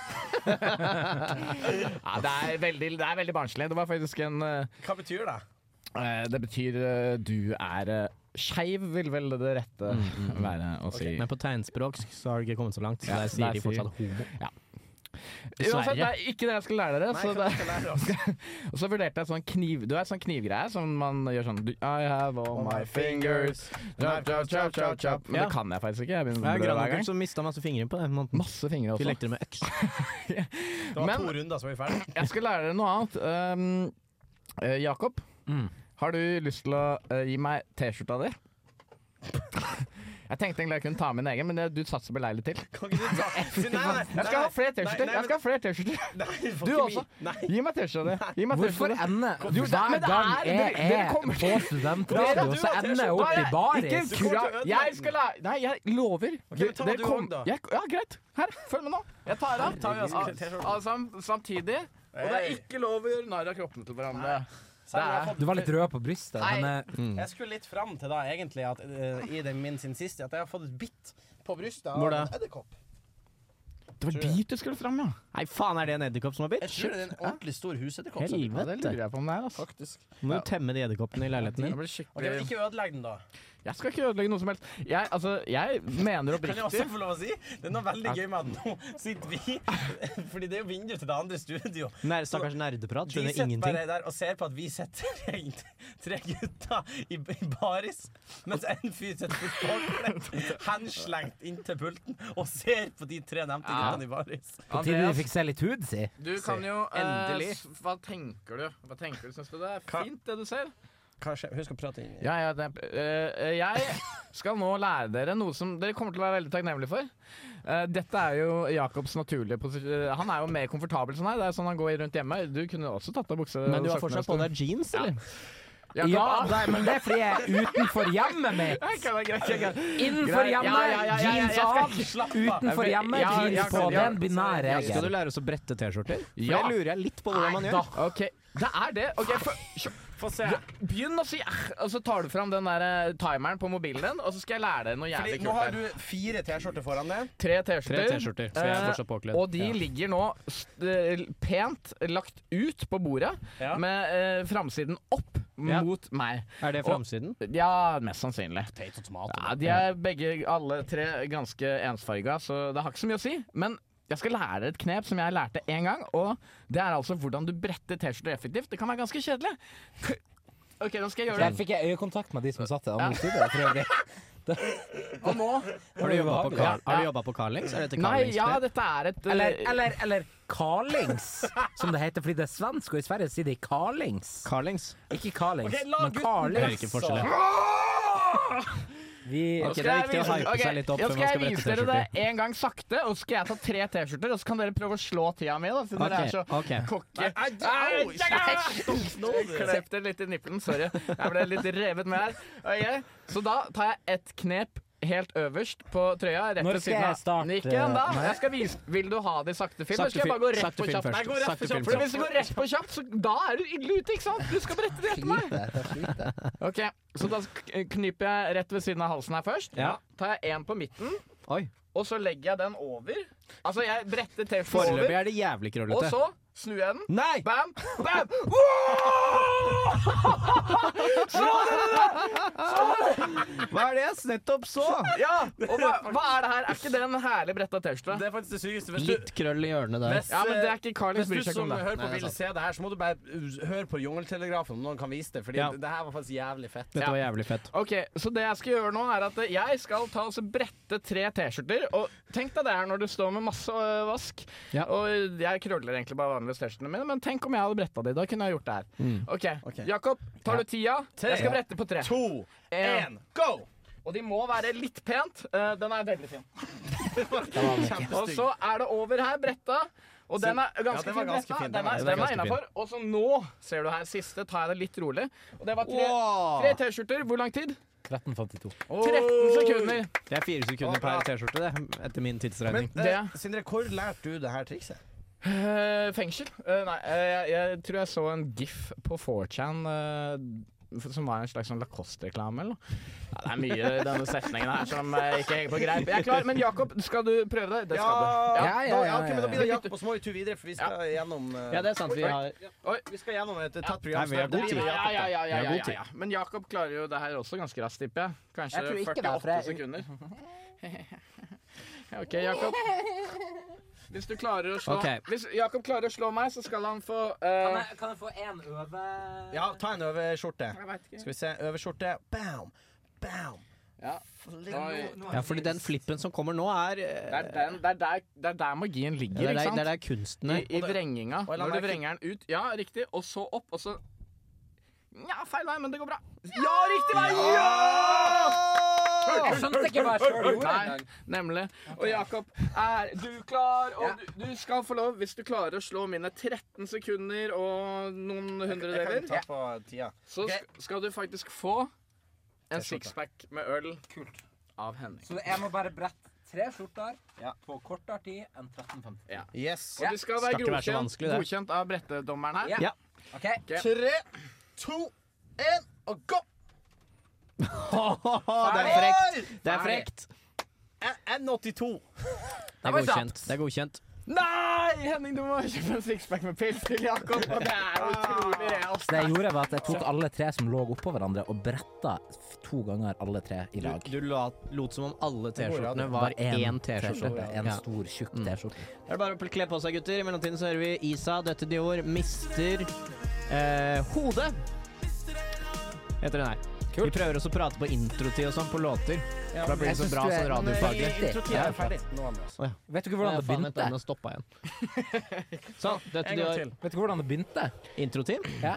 Speaker 3: ja, det, er veldig, det er veldig barnslig. Det var faktisk en eh,
Speaker 2: Hva betyr det?
Speaker 3: eh, Det betyr eh, du er uh, skeiv, vil vel det rette være å si.
Speaker 4: Men på tegnspråk så har det ikke kommet så langt, så
Speaker 3: Ja,
Speaker 4: der sier
Speaker 3: der
Speaker 4: de
Speaker 3: sier-
Speaker 4: fortsatt homo.
Speaker 3: Uansett,
Speaker 5: Dessverre.
Speaker 3: det er ikke det jeg skal lære dere.
Speaker 5: Nei,
Speaker 3: så
Speaker 5: hva
Speaker 3: det... og så vurderte jeg sånn kniv... Du vet sånn knivgreie som man gjør sånn du- I have all my fingers chop, chop, chop, chop, chop. Men
Speaker 4: Ja.
Speaker 3: det kan jeg faktisk ikke. Jeg begynner
Speaker 4: Jeg
Speaker 3: med
Speaker 4: er
Speaker 3: det hver
Speaker 4: grandonkel
Speaker 3: gang.
Speaker 4: som mista masse fingre på den måten.
Speaker 3: Masse
Speaker 4: Vi
Speaker 3: fingre også.
Speaker 4: lekte det med øks.
Speaker 2: Det var
Speaker 3: Men-
Speaker 2: to runder, så var vi ferdige.
Speaker 3: Jeg skal lære dere noe annet. Um, eh, Jakob, har du lyst til å eh, gi meg T-skjorta di? Jeg tenkte egentlig jeg kunne ta min egen, men det- du satser beleilig til.
Speaker 2: Kan ikke du ta Nei, nei, nei,
Speaker 3: Jeg skal ha flere T-skjorter! Jeg skal ha flere T-skjorter! Du også. Gi meg T-skjorta di. Gi meg
Speaker 5: Hvorfor
Speaker 3: T-skjorta di.
Speaker 5: ender
Speaker 3: Jo, det- men
Speaker 5: hver
Speaker 3: det
Speaker 5: gang
Speaker 3: er-
Speaker 5: jeg
Speaker 3: dere- dere
Speaker 5: er
Speaker 3: kommer-
Speaker 5: på studentradio,
Speaker 3: Dere-
Speaker 5: så ender jeg opp i
Speaker 3: Ikke
Speaker 5: baris?
Speaker 3: kra-
Speaker 2: til å ødelegge
Speaker 3: Jeg skal lære Nei, jeg lover.
Speaker 2: men ta
Speaker 3: Dere
Speaker 2: du
Speaker 3: kom-
Speaker 2: også, da.
Speaker 3: Jeg, ja, greit. Her, følg med nå. Jeg tar av.
Speaker 2: tar vi oss
Speaker 3: Al-
Speaker 2: T-skjorten.
Speaker 3: alle sammen samtidig. Og det er ikke lov å gjøre narr av kroppene til hverandre.
Speaker 2: Selv om jeg har fått-
Speaker 5: Du var litt rød på brystet.
Speaker 2: Nei.
Speaker 5: Men eh,
Speaker 2: Jeg skulle litt fram til da, egentlig, at, eh, i den min sin siste, at jeg har fått et bitt på brystet av
Speaker 4: Hvor da?
Speaker 2: en edderkopp.
Speaker 3: Det var dit du skulle fram, ja.
Speaker 4: Nei, faen, er det en edderkopp som har
Speaker 2: Jeg
Speaker 4: bitt?
Speaker 2: tror det er en ordentlig stor husedderkopp. som-
Speaker 3: Ja, det
Speaker 4: Helvete.
Speaker 3: lurer jeg på om det er. Altså.
Speaker 2: Faktisk.
Speaker 4: Må du temme de edderkoppene i leiligheten
Speaker 3: Jeg,
Speaker 4: din?
Speaker 3: blir
Speaker 2: Ok, men
Speaker 3: skikkelig-
Speaker 2: Ikke ødelegg den, da.
Speaker 3: Mm. jeg skal ikke ødelegge noe som helst. Jeg, altså, jeg mener
Speaker 2: Kan jeg også
Speaker 3: oppriktig
Speaker 2: få lov å si? Det er noe veldig gøy med at nå sitter vi Fordi det er jo vindu til det andre studio.
Speaker 4: Nei, stakkars nerdeprat.
Speaker 2: De
Speaker 4: Skjønner
Speaker 2: sitter
Speaker 4: ingenting.
Speaker 2: bare der og ser på at vi sitter tre, tre gutter i, i baris, mens en fyr sitter på forkle, henslengt inntil pulten, og ser på de tre nevnte guttene i baris.
Speaker 5: på tide du fikk se litt hud, si.
Speaker 3: Du kan jo eh,
Speaker 2: Endelig.
Speaker 3: s- Hva tenker du? Hva tenker du? Syns du det er
Speaker 2: Hva-
Speaker 3: fint, det du ser?
Speaker 2: Kanskje, husk å prate inn i
Speaker 3: Ja, ja, det, eh, jeg skal nå lære dere noe som dere kommer til å være veldig takknemlige for. Eh, dette er jo Jacobs naturlige posisjon. Han er jo mer komfortabel sånn her. Det er sånn han går rundt hjemme. Du kunne også tatt av buksa.
Speaker 4: Men du har
Speaker 3: og sokkene
Speaker 4: fortsatt på
Speaker 3: en stund.
Speaker 4: deg jeans, eller?
Speaker 3: Jakob,
Speaker 5: Ja,
Speaker 3: ah,
Speaker 5: nei, men det er fordi jeg er utenfor hjemmet mitt.
Speaker 3: ok, det er greit, greit, greit.
Speaker 5: Innenfor
Speaker 3: Greit. Ja, ja, ja, ja,
Speaker 5: hjemmet,
Speaker 3: ja, jeg
Speaker 5: jeans
Speaker 3: skal
Speaker 5: av.
Speaker 3: ikke slappe av.
Speaker 5: Utenfor hjemmet,
Speaker 3: Ja, ja,
Speaker 5: jeans på.
Speaker 3: ja.
Speaker 5: Det er en binær
Speaker 4: Skal du
Speaker 5: regel.
Speaker 4: lære oss å brette T-skjorter? For
Speaker 3: Ja.
Speaker 4: Det lurer jeg litt på hvordan man gjør.
Speaker 3: Ok, det er det. Ok, for,
Speaker 2: Få se.
Speaker 3: begynn å si eh, og så tar du fram den der eh, timeren på mobilen din, og så skal jeg lære deg noe
Speaker 2: Fordi
Speaker 3: jævlig
Speaker 2: nå
Speaker 3: kult.
Speaker 2: har
Speaker 3: her.
Speaker 2: du fire T-skjorter foran deg.
Speaker 3: Tre
Speaker 4: Tre
Speaker 3: T-skjorter.
Speaker 4: T-skjorter, så jeg er
Speaker 3: Eh,
Speaker 4: fortsatt påkledd.
Speaker 3: Og de ligger nå s- eh, pent lagt ut på bordet,
Speaker 2: Ja.
Speaker 3: med eh, framsiden opp
Speaker 4: Ja.
Speaker 3: mot meg.
Speaker 4: Er det framsiden?
Speaker 3: Ja, mest sannsynlig.
Speaker 2: Potato tomato.
Speaker 3: Ja, de er begge, alle tre, ganske ensfarga, så det har ikke så mye å si. Men jeg skal lære dere et knep som jeg lærte én gang, og det er altså hvordan du bretter T-skjorter effektivt. Det kan være ganske kjedelig. K- OK, nå skal jeg gjøre
Speaker 5: Der
Speaker 3: det.
Speaker 5: fikk jeg øyekontakt med de som satt i andre studio. For øvrig.
Speaker 3: Og nå
Speaker 4: Har du jobba på,
Speaker 3: Ja,
Speaker 4: Carl- har du
Speaker 3: ja.
Speaker 4: jobbet på Carlings? Er dette
Speaker 3: Nei,
Speaker 4: Carlings?
Speaker 3: ja, dette er et eh,
Speaker 5: Eller, eller, eller Karlings, som det heter. Fordi det er svensk, og i Sverige sier de Karlings.
Speaker 4: Carlings.
Speaker 5: Ikke Karlings,
Speaker 2: Ok, la
Speaker 5: men
Speaker 2: gutten
Speaker 4: Jeg
Speaker 5: Karlings.
Speaker 4: hører ikke forskjellen.
Speaker 5: Vi,
Speaker 4: Ok, det er viktig å hype
Speaker 3: ok,
Speaker 4: seg litt opp
Speaker 3: nå
Speaker 4: før
Speaker 3: skal
Speaker 4: man skal
Speaker 3: jeg
Speaker 4: brette
Speaker 3: vise dere
Speaker 4: T-skjorter.
Speaker 3: det en gang sakte, og så skal jeg ta tre T-skjorter, og så kan dere prøve å slå tida mi, da, siden dere er så
Speaker 4: Ok, ok.
Speaker 3: kokke. Au, Jeg Klepp dere litt i nippelen, sorry. Jeg ble litt revet med her. Ok, Så da tar jeg ett knep helt øverst på trøya. Rett
Speaker 5: Når
Speaker 3: ved
Speaker 5: skal
Speaker 3: siden
Speaker 5: jeg
Speaker 3: av.
Speaker 5: starte?
Speaker 3: Ikke ennå. Jeg skal vise Vil du ha det i sakte film? Eller
Speaker 4: Sakte
Speaker 3: skal jeg bare gå
Speaker 4: film-
Speaker 3: rett
Speaker 4: sakte
Speaker 3: på
Speaker 4: film
Speaker 3: kjapt?
Speaker 4: først.
Speaker 3: Nei, gå rett
Speaker 4: Sakte
Speaker 3: på
Speaker 4: film
Speaker 3: kjapt. For
Speaker 4: først.
Speaker 3: hvis du går rett på kjapt, så da er du ille ute, ikke sant? Du skal brette det etter meg. Ok, så da k- knyper jeg rett ved siden av halsen her først.
Speaker 4: Ja.
Speaker 3: Tar jeg en på midten,
Speaker 4: Oi.
Speaker 3: og så legger jeg den over. Altså, jeg bretter T-skjorten
Speaker 4: Foreløpig
Speaker 3: over,
Speaker 4: er det jævlig
Speaker 3: og
Speaker 4: krøllete.
Speaker 3: så snur jeg den.
Speaker 4: Nei!
Speaker 3: Bam! Bam! Wow!
Speaker 4: Hva er det jeg nettopp så?
Speaker 3: Ja, og hva, hva er det her? Er ikke det en herlig bretta T-skjorte?
Speaker 2: Eh, Det er faktisk det sykeste. Hvis
Speaker 4: Litt
Speaker 2: du,
Speaker 4: krøll i hjørnet der.
Speaker 2: hvis, eh,
Speaker 3: Ja, men det er ikke
Speaker 2: hvis
Speaker 3: Carlings
Speaker 2: du
Speaker 3: bryr seg ikke
Speaker 2: som
Speaker 3: om det.
Speaker 2: hører på
Speaker 4: Nei, det er
Speaker 2: vil se det her, så må du bare uh, høre på Jungeltelegrafen om noen kan vise det. Fordi
Speaker 4: Ja.
Speaker 2: det her var faktisk jævlig fett.
Speaker 4: Dette var jævlig fett.
Speaker 3: Ok, Så det jeg skal gjøre nå, er at jeg skal ta og så brette tre T-skjorter. Og tenk deg det her når du står med masse øh, vask.
Speaker 4: Ja.
Speaker 3: Og jeg krøller egentlig bare vanligvis T-skjortene mine, men tenk om jeg hadde bretta de. Da kunne jeg gjort det her. Ok,
Speaker 2: Mm. Ok.
Speaker 3: Jakob, tar du tida? Jeg skal brette på tre.
Speaker 2: To,
Speaker 3: En.
Speaker 2: én, go!
Speaker 3: Og de må være litt pent. Eh, den er veldig fin. Og
Speaker 2: Kjempestygg.
Speaker 3: så er det over her, bretta. Og den er
Speaker 2: Ja,
Speaker 3: ganske
Speaker 2: den var
Speaker 3: fin.
Speaker 2: ganske
Speaker 3: bretta.
Speaker 2: fin, den
Speaker 3: Den
Speaker 2: var-
Speaker 3: er,
Speaker 4: den er
Speaker 3: den er
Speaker 4: ganske fin.
Speaker 3: innafor. Og så nå, ser du her, siste tar jeg det litt rolig. Og det var tre
Speaker 4: Wow.
Speaker 3: tre T-skjorter. Hvor lang tid?
Speaker 5: 1352.
Speaker 3: 13 sekunder.
Speaker 4: Det er fire sekunder per T-skjorte, det, etter min tidsregning.
Speaker 2: Men eh,
Speaker 3: Det-
Speaker 2: Sindre, hvor lærte du det her trikset?
Speaker 3: Eh, fengsel? Eh, nei, eh, jeg, jeg tror jeg så en gif på 4chan eh, f- som var en slags sånn Lacoste-reklame, eller noe. Ja, det er mye i denne setningen her som eh, ikke henger på greip. Jeg er klar, men Jakob, skal du prøve det? Det skal du.
Speaker 5: Ja, ja,
Speaker 2: da-
Speaker 5: ja,
Speaker 2: ok,
Speaker 5: ja,
Speaker 2: men da blir det
Speaker 3: ja.
Speaker 2: Jakob og så må vi tur videre, for vi skal gjennom eh,
Speaker 4: Ja, det er sant. Vi har
Speaker 2: Oi, vi skal gjennom et tatt
Speaker 4: Nei,
Speaker 2: program.
Speaker 4: vi har
Speaker 2: så det
Speaker 4: god
Speaker 2: blir
Speaker 4: tid.
Speaker 2: Jakob,
Speaker 3: Ja,
Speaker 2: da.
Speaker 3: ja, ja, ja,
Speaker 4: Vi har
Speaker 3: ja,
Speaker 4: god
Speaker 3: ja, ja. Men Jakob klarer jo det her også ganske raskt, tipper jeg. Kanskje
Speaker 5: Jeg tror ikke det, for
Speaker 3: 48
Speaker 5: jeg-
Speaker 3: sekunder. OK, Jakob.
Speaker 8: Hvis du klarer å slå
Speaker 4: Ok.
Speaker 8: Hvis Jakob klarer å slå meg, så skal han få eh,
Speaker 5: Kan jeg, kan jeg få én øve...?
Speaker 2: Ja, ta en overskjorte.
Speaker 8: Jeg vet ikke.
Speaker 2: Skal vi se. Overskjorte. Bam! Bam!
Speaker 8: Ja. Oi.
Speaker 4: Ja, fordi den flippen som kommer nå, er
Speaker 3: Det
Speaker 4: eh,
Speaker 3: er, den, det, er der, det er der magien
Speaker 4: Det
Speaker 3: ligger,
Speaker 4: er
Speaker 3: ikke
Speaker 4: der,
Speaker 3: sant?
Speaker 4: det er der kunsten er.
Speaker 3: I, i vrenginga.
Speaker 2: la
Speaker 3: Når du
Speaker 2: meg-
Speaker 3: vrenger den ut. Ja, riktig. Og så opp, og så Nja, feil vei, men det går bra. Ja, riktig vei!
Speaker 5: Jeg skjønte Sånn ikke hva jeg sjøl gjorde.
Speaker 3: Nei, nemlig. Og Jakob, er du klar? Og du, du skal få lov, hvis du klarer å slå mine 13 sekunder og noen hundredeler,
Speaker 2: ta på tida.
Speaker 3: så sk- skal du faktisk få en sixpack med øl av Henning.
Speaker 5: Så jeg må bare brette tre skjorter på kortere tid enn 13.50.
Speaker 2: Yes.
Speaker 3: Og du skal være
Speaker 4: Skal ikke være så
Speaker 3: godkjent,
Speaker 4: vanskelig, det.
Speaker 3: godkjent av brettedommeren her.
Speaker 5: Ja.
Speaker 4: Ja.
Speaker 5: OK?
Speaker 2: Tre, to, én, og gå!
Speaker 4: det er frekt! Det er frekt.
Speaker 2: N82.
Speaker 4: Det er
Speaker 5: var kjapt.
Speaker 4: godkjent. Det er godkjent.
Speaker 3: Nei, Henning, du må kjøpe en sixpack med pils til Jakob. Og det er utrolig realt.
Speaker 5: Det jeg gjorde, var at jeg tok alle tre som lå oppå hverandre, og bretta f- to ganger alle tre i lag.
Speaker 4: Du lot, lot som om alle T-skjortene
Speaker 5: Det
Speaker 4: var
Speaker 5: en
Speaker 4: én T-skjorte.
Speaker 5: En
Speaker 4: Ja. Mm.
Speaker 5: stor, tjukk T-skjorte.
Speaker 4: Det er bare å kle på seg, gutter. I mellomtiden så hører vi Isa, dette Dior, mister eh, hodet. Heter den her. Vi prøver også å prate på introtid og sånn på låter. for da blir det så bra sånn radiofaglig.
Speaker 5: Ja.
Speaker 4: Å, ja.
Speaker 5: Vet du ikke eh, hvordan det
Speaker 4: Faen, vent,
Speaker 5: begynte?
Speaker 4: den stoppa igjen. Sånn. Dette Dior.
Speaker 5: Vet du hvordan det begynte?
Speaker 4: Introtid?
Speaker 5: Ja.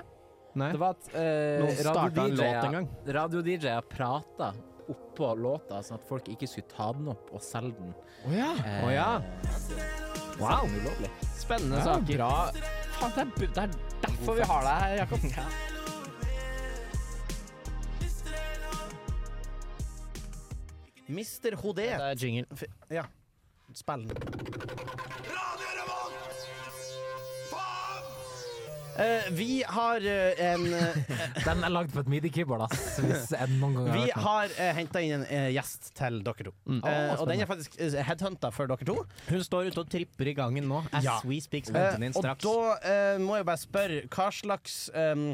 Speaker 4: Nei.
Speaker 5: Det var at eh,
Speaker 4: Noen startet en
Speaker 5: radio-DJ-er-
Speaker 4: låt en gang.
Speaker 5: Radio-DJ-er prata oppå låta, sånn at folk ikke skulle ta den opp og selge den. Eh,
Speaker 4: Å ja. Wow.
Speaker 5: selge den ulovlig.
Speaker 4: Spennende saker.
Speaker 3: Faen, det, er, bu- det er derfor vi har deg her, Jakob.
Speaker 2: Mister Hodé.
Speaker 4: Det er jingle.
Speaker 2: Ja. Spill den. Eh, vi har eh, en eh,
Speaker 5: Den er lagd på et midi-keyboard, ass. Hvis jeg noen gang
Speaker 2: Vi
Speaker 5: har hørt den.
Speaker 2: har uh, henta inn en eh, gjest til dere to. Eh, og den er faktisk uh, headhunta for dere to.
Speaker 4: Mm. Hun står ute og tripper i gangen nå. As
Speaker 2: Ja.
Speaker 4: we speak, skal
Speaker 2: Eh,
Speaker 4: hente den inn
Speaker 2: og
Speaker 4: straks.
Speaker 2: da eh, må jeg bare spørre, hva slags ehm,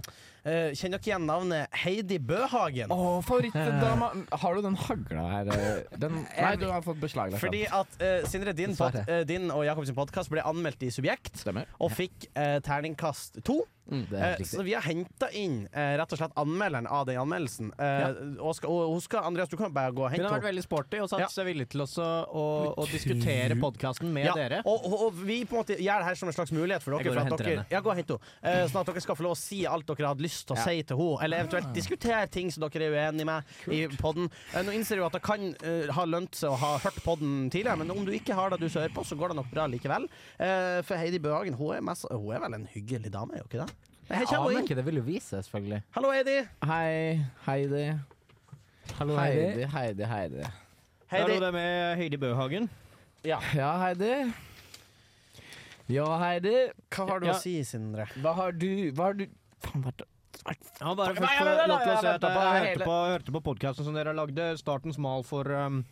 Speaker 2: eh, Kjenner dere igjen navnet Heidi Bøhagen?
Speaker 3: Å, favorittdama. Har du den hagla her? eh, Den, nei, du har fått beslag. liksom. Lars.
Speaker 2: Fordi at eh, Sindre, din, pod,
Speaker 5: Dessverre.
Speaker 2: eh, din og Jakobs podkast ble anmeldt i Subjekt.
Speaker 3: Stemmer.
Speaker 2: Og fikk eh, terningkast to.
Speaker 3: Mm,
Speaker 5: Det
Speaker 2: Eh,
Speaker 5: er
Speaker 2: så
Speaker 5: riktig.
Speaker 2: vi har henta inn eh, rett og slett anmelderen av den anmeldelsen. Eh, og, skal, og hun skal, Andreas, du kan bare gå og
Speaker 4: Hun
Speaker 2: hente
Speaker 4: har vært
Speaker 2: henne.
Speaker 4: veldig sporty og satt
Speaker 2: Ja.
Speaker 4: seg villig til også å, å diskutere podkasten med
Speaker 2: Ja,
Speaker 4: dere.
Speaker 2: og, og, og vi på en måte gjør det her som en slags mulighet for dere.
Speaker 4: Jeg går og
Speaker 2: for at
Speaker 4: henter
Speaker 2: dere
Speaker 4: henne.
Speaker 2: ja, gå og hent henne. Eh, sånn at dere skal få lov å si alt dere hadde lyst til å si til henne. Eller eventuelt diskutere ting som dere er uenige med i podden. Eh, nå innser du at det kan eh, ha lønt seg å ha hørt podden tidligere, men om du ikke har det du som hører på, så går det nok bra likevel. Eh, for Heidi Bøhagen, hun er, mest, hun er vel en hyggelig dame, er hun ikke det? Her
Speaker 5: Jeg
Speaker 2: kommer
Speaker 5: aner
Speaker 2: hun inn.
Speaker 5: ikke, det vil jo vise seg, selvfølgelig.
Speaker 2: Hallo, Heidi.
Speaker 3: Hei, Heidi.
Speaker 5: Hallo,
Speaker 3: Heidi, Heidi, Heidi.
Speaker 4: Der
Speaker 2: Heidi.
Speaker 4: lå det med Heidi Bøhagen.
Speaker 3: Ja, Heidi. Ja, Heidi.
Speaker 2: Hva har du
Speaker 4: Ja.
Speaker 2: å si, Sindre?
Speaker 3: Hva har du Hva har du Faen, hva er det
Speaker 4: Ja, bare
Speaker 3: Nei,
Speaker 4: først
Speaker 3: nei,
Speaker 4: få
Speaker 3: nei,
Speaker 4: lov
Speaker 3: nei,
Speaker 4: til å
Speaker 3: jeg
Speaker 4: si at
Speaker 3: venter på
Speaker 4: jeg hørte
Speaker 3: hele-
Speaker 4: på, hørte på podkasten som dere lagde. Startens mal for um,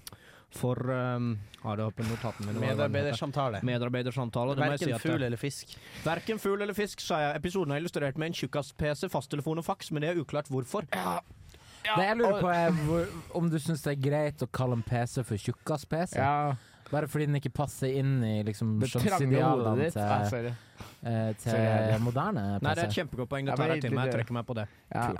Speaker 4: For um, Har det oppe i notatene mine. hva det var den heter.
Speaker 2: Medarbeidersamtale.
Speaker 4: Medarbeidersamtale. Det må jeg si
Speaker 2: Verken
Speaker 4: at eh,
Speaker 2: fugl eller fisk.
Speaker 4: Verken fugl eller fisk, sa jeg. Episoden er illustrert med en tjukkas-PC, fasttelefon og faks, men det er uklart hvorfor.
Speaker 5: Det jeg lurer på, er hvor, om du syns det er greit å kalle en PC for tjukkas-PC?
Speaker 3: Ja,
Speaker 5: Bare fordi den ikke passer inn i liksom,
Speaker 3: det trange hodet
Speaker 5: skjønnsidealene
Speaker 3: ditt. Nei,
Speaker 5: til,
Speaker 3: sorry.
Speaker 5: eh,
Speaker 3: Sorry, Heidi.
Speaker 5: til moderne PC?
Speaker 4: Nei, det er et kjempegodt poeng. Det
Speaker 3: Ja,
Speaker 4: tar
Speaker 3: men
Speaker 4: jeg til meg. Jeg
Speaker 3: det-
Speaker 4: trekker meg på det.
Speaker 3: Ja.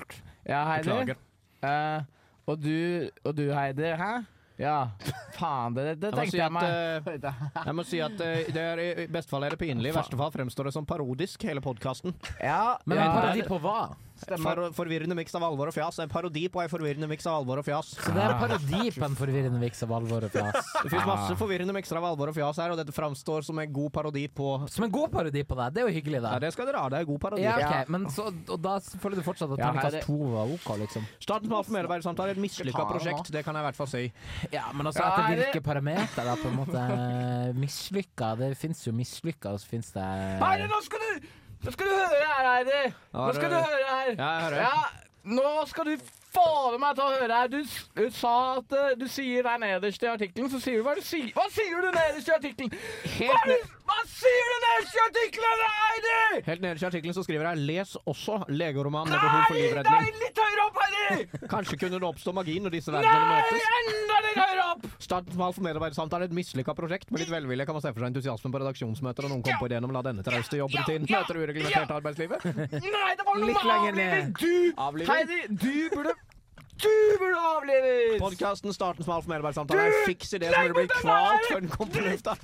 Speaker 3: Ja, Heidi.
Speaker 4: Beklager.
Speaker 3: Eh, og du, og du Heidi, hæ? Ja, faen, det, det
Speaker 4: Jeg må
Speaker 3: tenkte
Speaker 4: si
Speaker 3: jeg
Speaker 4: at,
Speaker 3: meg.
Speaker 4: eh, jeg må si at eh, det er, I beste fall er det pinlig, i verste fall fremstår det som parodisk, hele podkasten.
Speaker 3: Ja,
Speaker 5: Men
Speaker 3: ja,
Speaker 5: en parodi på hva?
Speaker 3: stemmer.
Speaker 4: For, forvirrende miks av alvor og fjas. En parodi på en forvirrende miks av alvor og fjas.
Speaker 5: Så det er en parodi på en forvirrende viks av alvor og plass.
Speaker 4: Ah. Det fins masse forvirrende mikser av alvor og fjas her, og dette framstår som en god parodi på
Speaker 5: Som en god parodi på deg, det er jo hyggelig,
Speaker 4: Ja,
Speaker 5: da.
Speaker 4: det skal dere ha. Det er en god parodi.
Speaker 5: Ja, ok, men så, og da føler du fortsatt at
Speaker 3: Ja,
Speaker 5: terningkast
Speaker 3: Heidi.
Speaker 5: to var ok, liksom?
Speaker 4: Statens mal for medarbeidersamtale er et mislykka
Speaker 3: Skal ta den nå.
Speaker 4: prosjekt, det kan jeg i hvert fall si.
Speaker 5: Ja, men altså
Speaker 3: Ja,
Speaker 5: etter
Speaker 3: Heidi.
Speaker 5: hvilke parametere, da, på en måte? Mislykka. Det fins jo mislykka, og så fins det
Speaker 3: Heidi, nå skal du, nå skal du høre her, Heidi. Nå skal du høre her.
Speaker 4: Ja, jeg hører.
Speaker 3: Ja, nå skal du faen meg ta og høre her. Du, s- du sa at eh, du sier der nederst i artikkelen, så sier du hva du sier. Hva sier du nederst i artikkelen? Hva, er det- hva sier du nederst i artikkelen, Heidi?
Speaker 4: Helt nederst i artikkelen så skriver jeg 'Les også legeroman med behov for
Speaker 3: Nei, nei,
Speaker 4: livredning'.
Speaker 3: litt høyere opp, Heidi!
Speaker 4: Kanskje kunne det oppstå magi når disse verdenene
Speaker 3: Nei,
Speaker 4: møtes.
Speaker 3: enda litt høyere opp!
Speaker 4: Starten var for medarbeidersamtale et mislykka prosjekt. Med litt velvilje kan man se for seg entusiasmen på redaksjonsmøter, og noen kom på ideen om å la denne trauste jobbrutinen møte det ureglementerte arbeidslivet.
Speaker 11: Nei, det var noe
Speaker 4: Litt
Speaker 11: med
Speaker 4: lenger
Speaker 11: avliving!
Speaker 4: ned.
Speaker 11: Du,
Speaker 4: Avlivet.
Speaker 11: Heidi, du burde Du burde avlives!
Speaker 4: Podkasten Starten smal for medarbeidersamtale er
Speaker 11: Du,
Speaker 4: fiks idé
Speaker 11: legg
Speaker 4: som ville bli
Speaker 11: ut den
Speaker 4: kvalt
Speaker 11: der!
Speaker 4: før den kom på lufta.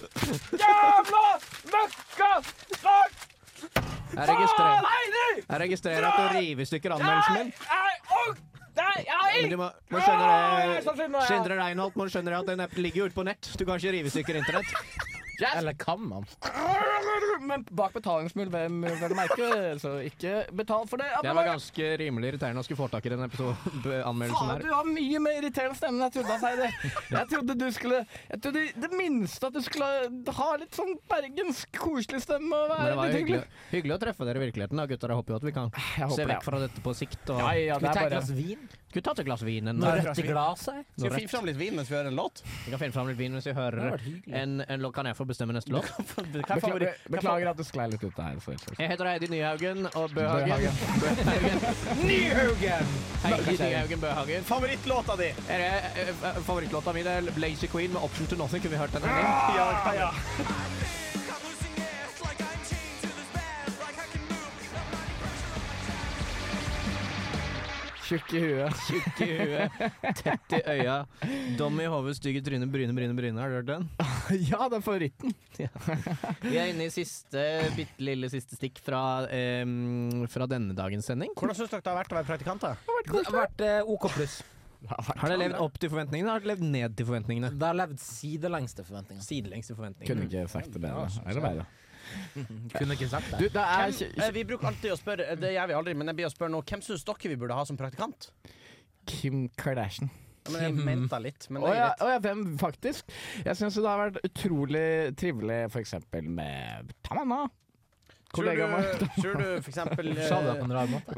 Speaker 11: Jævla møkka! Fuck!
Speaker 4: Jeg registrerer-
Speaker 11: Faen, Heidi!
Speaker 4: Jeg registrerer at du river i stykker anmeldelsen min.
Speaker 11: Jeg ork... Nei, jeg
Speaker 4: Men du må, må
Speaker 11: Ja, jeg
Speaker 4: skjønne
Speaker 11: skal skynde
Speaker 4: det
Speaker 11: meg, ja.
Speaker 4: Sindre Reinholt, må du skjønne det at den appen ligger jo ute på nett. Du kan ikke rive i stykker internett.
Speaker 3: Eller kan man? Men bak betalingsmur, hvem vil merke? Så ikke betal for det.
Speaker 4: Det var ganske rimelig irriterende å skulle få tak i den episoden, anmeldelsen
Speaker 3: Faen,
Speaker 4: der.
Speaker 3: du har mye mer irriterende stemme enn jeg trodde. Altså, Heidi. Jeg trodde du skulle Jeg trodde det minste at du skulle ha litt sånn bergensk koselig stemme og
Speaker 4: Men det
Speaker 3: være
Speaker 4: var
Speaker 3: litt
Speaker 4: jo hyggelig,
Speaker 3: hyggelig.
Speaker 4: hyggelig å treffe dere i virkeligheten. da, gutter. Jeg håper jo at vi kan
Speaker 3: håper
Speaker 4: se
Speaker 3: det, ja.
Speaker 4: vekk fra dette på sikt. Og...
Speaker 3: Ja, ja,
Speaker 4: Skal
Speaker 3: det
Speaker 4: vi
Speaker 3: er
Speaker 4: ta et
Speaker 3: bare-
Speaker 4: glass vin? Skal vi ta et glass vin?
Speaker 5: Noe rødt i glasset?
Speaker 2: Skal vi finne fram litt vin mens vi hører en låt?
Speaker 4: Vi kan finne fram litt vin mens vi hører
Speaker 2: Det hadde vært hyggelig.
Speaker 4: en, en låt. Kan jeg få bestemme neste låt?
Speaker 2: Hva er favoritt- hva er
Speaker 3: Beklager at du sklei litt ut der. sorry.
Speaker 4: Jeg heter Heidi Nyhaugen og Bøhagen.
Speaker 3: Bøhagen.
Speaker 4: Nyhaugen! Heidi Nyhaugen Bøhagen.
Speaker 2: Favorittlåta di?
Speaker 4: Er det, eh, eh, favorittlåta mi det er Blazy Queen med 'Option to Nothing'. Kunne vi hørt den? en gang?
Speaker 3: Ah!
Speaker 2: Ja, ja, ja.
Speaker 3: Tjukk i huet.
Speaker 4: Tjukk i huet, tett i øya. Dom i hodet, stygge tryne, bryne, bryne, bryne. Har du hørt den?
Speaker 3: Ja, det er favoritten.
Speaker 4: Vi er inne i siste, bitte lille siste stikk fra, em, fra denne dagens sending.
Speaker 2: Hvordan syns dere det har vært å være praktikant? da?
Speaker 5: Det har vært eh, OK pluss.
Speaker 4: Har det levd opp til forventningene, eller har det levd ned til forventningene?
Speaker 5: Det har levd sidelengs til forventningene.
Speaker 4: Sidelengs til
Speaker 3: Kunne
Speaker 4: forventningene.
Speaker 3: ikke sagt det bedre. Eller bedre.
Speaker 5: Kunne ikke sagt
Speaker 3: Du,
Speaker 5: det.
Speaker 3: det er
Speaker 2: Hvem, eh, vi bruker alltid å spørre, eh, det gjør vi aldri, men jeg blir å spørre nå, hvem syns dere vi burde ha som praktikant?
Speaker 3: Kim Kardashian.
Speaker 2: Ja, Men jeg mente litt, men
Speaker 3: Å
Speaker 2: det er
Speaker 3: ja,
Speaker 2: greit.
Speaker 3: å ja, hvem faktisk? Jeg syns det har vært utrolig trivelig f.eks. med Tamanna.
Speaker 2: Tror du,
Speaker 3: Kollegaen vår.
Speaker 2: tror du for eksempel, eh,
Speaker 5: Sa du det på en rar måte?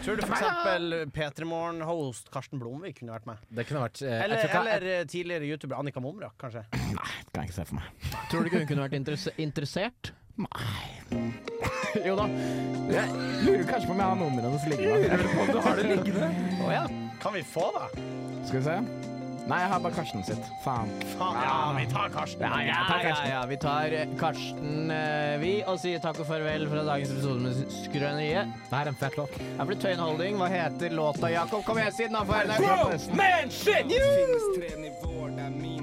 Speaker 2: tror du for eksempel P3 Morgen-host Karsten Blomvik kunne vært med?
Speaker 5: Det kunne vært eh, jeg
Speaker 2: Eller,
Speaker 5: tror ikke-
Speaker 2: eller eh, tidligere youtuber Annika Momrak, kanskje?
Speaker 3: Kan jeg ikke se for meg.
Speaker 4: Tror du ikke hun kunne vært interesse interessert?
Speaker 3: Jo da. Jeg lurer kanskje på om jeg har nummeret hennes liggende. Du har det liggende?
Speaker 2: Å ja. Kan vi få det?
Speaker 3: Skal vi se. Nei, jeg har bare Karsten sitt. Faen.
Speaker 2: Faen, ja, vi tar Karsten.
Speaker 4: Ja, ja, ja, ja. Vi tar eh, Karsten, eh, vi, og sier takk og farvel fra dagens episode med Skrøneriet.
Speaker 5: Det er en fett låt.
Speaker 4: Her blir Tøyen Holding. Hva heter låta, Jakob? Kom igjen, siden han får
Speaker 3: Wow,
Speaker 4: henne.
Speaker 3: man, shit!
Speaker 6: Det finnes tre nivåer, det er min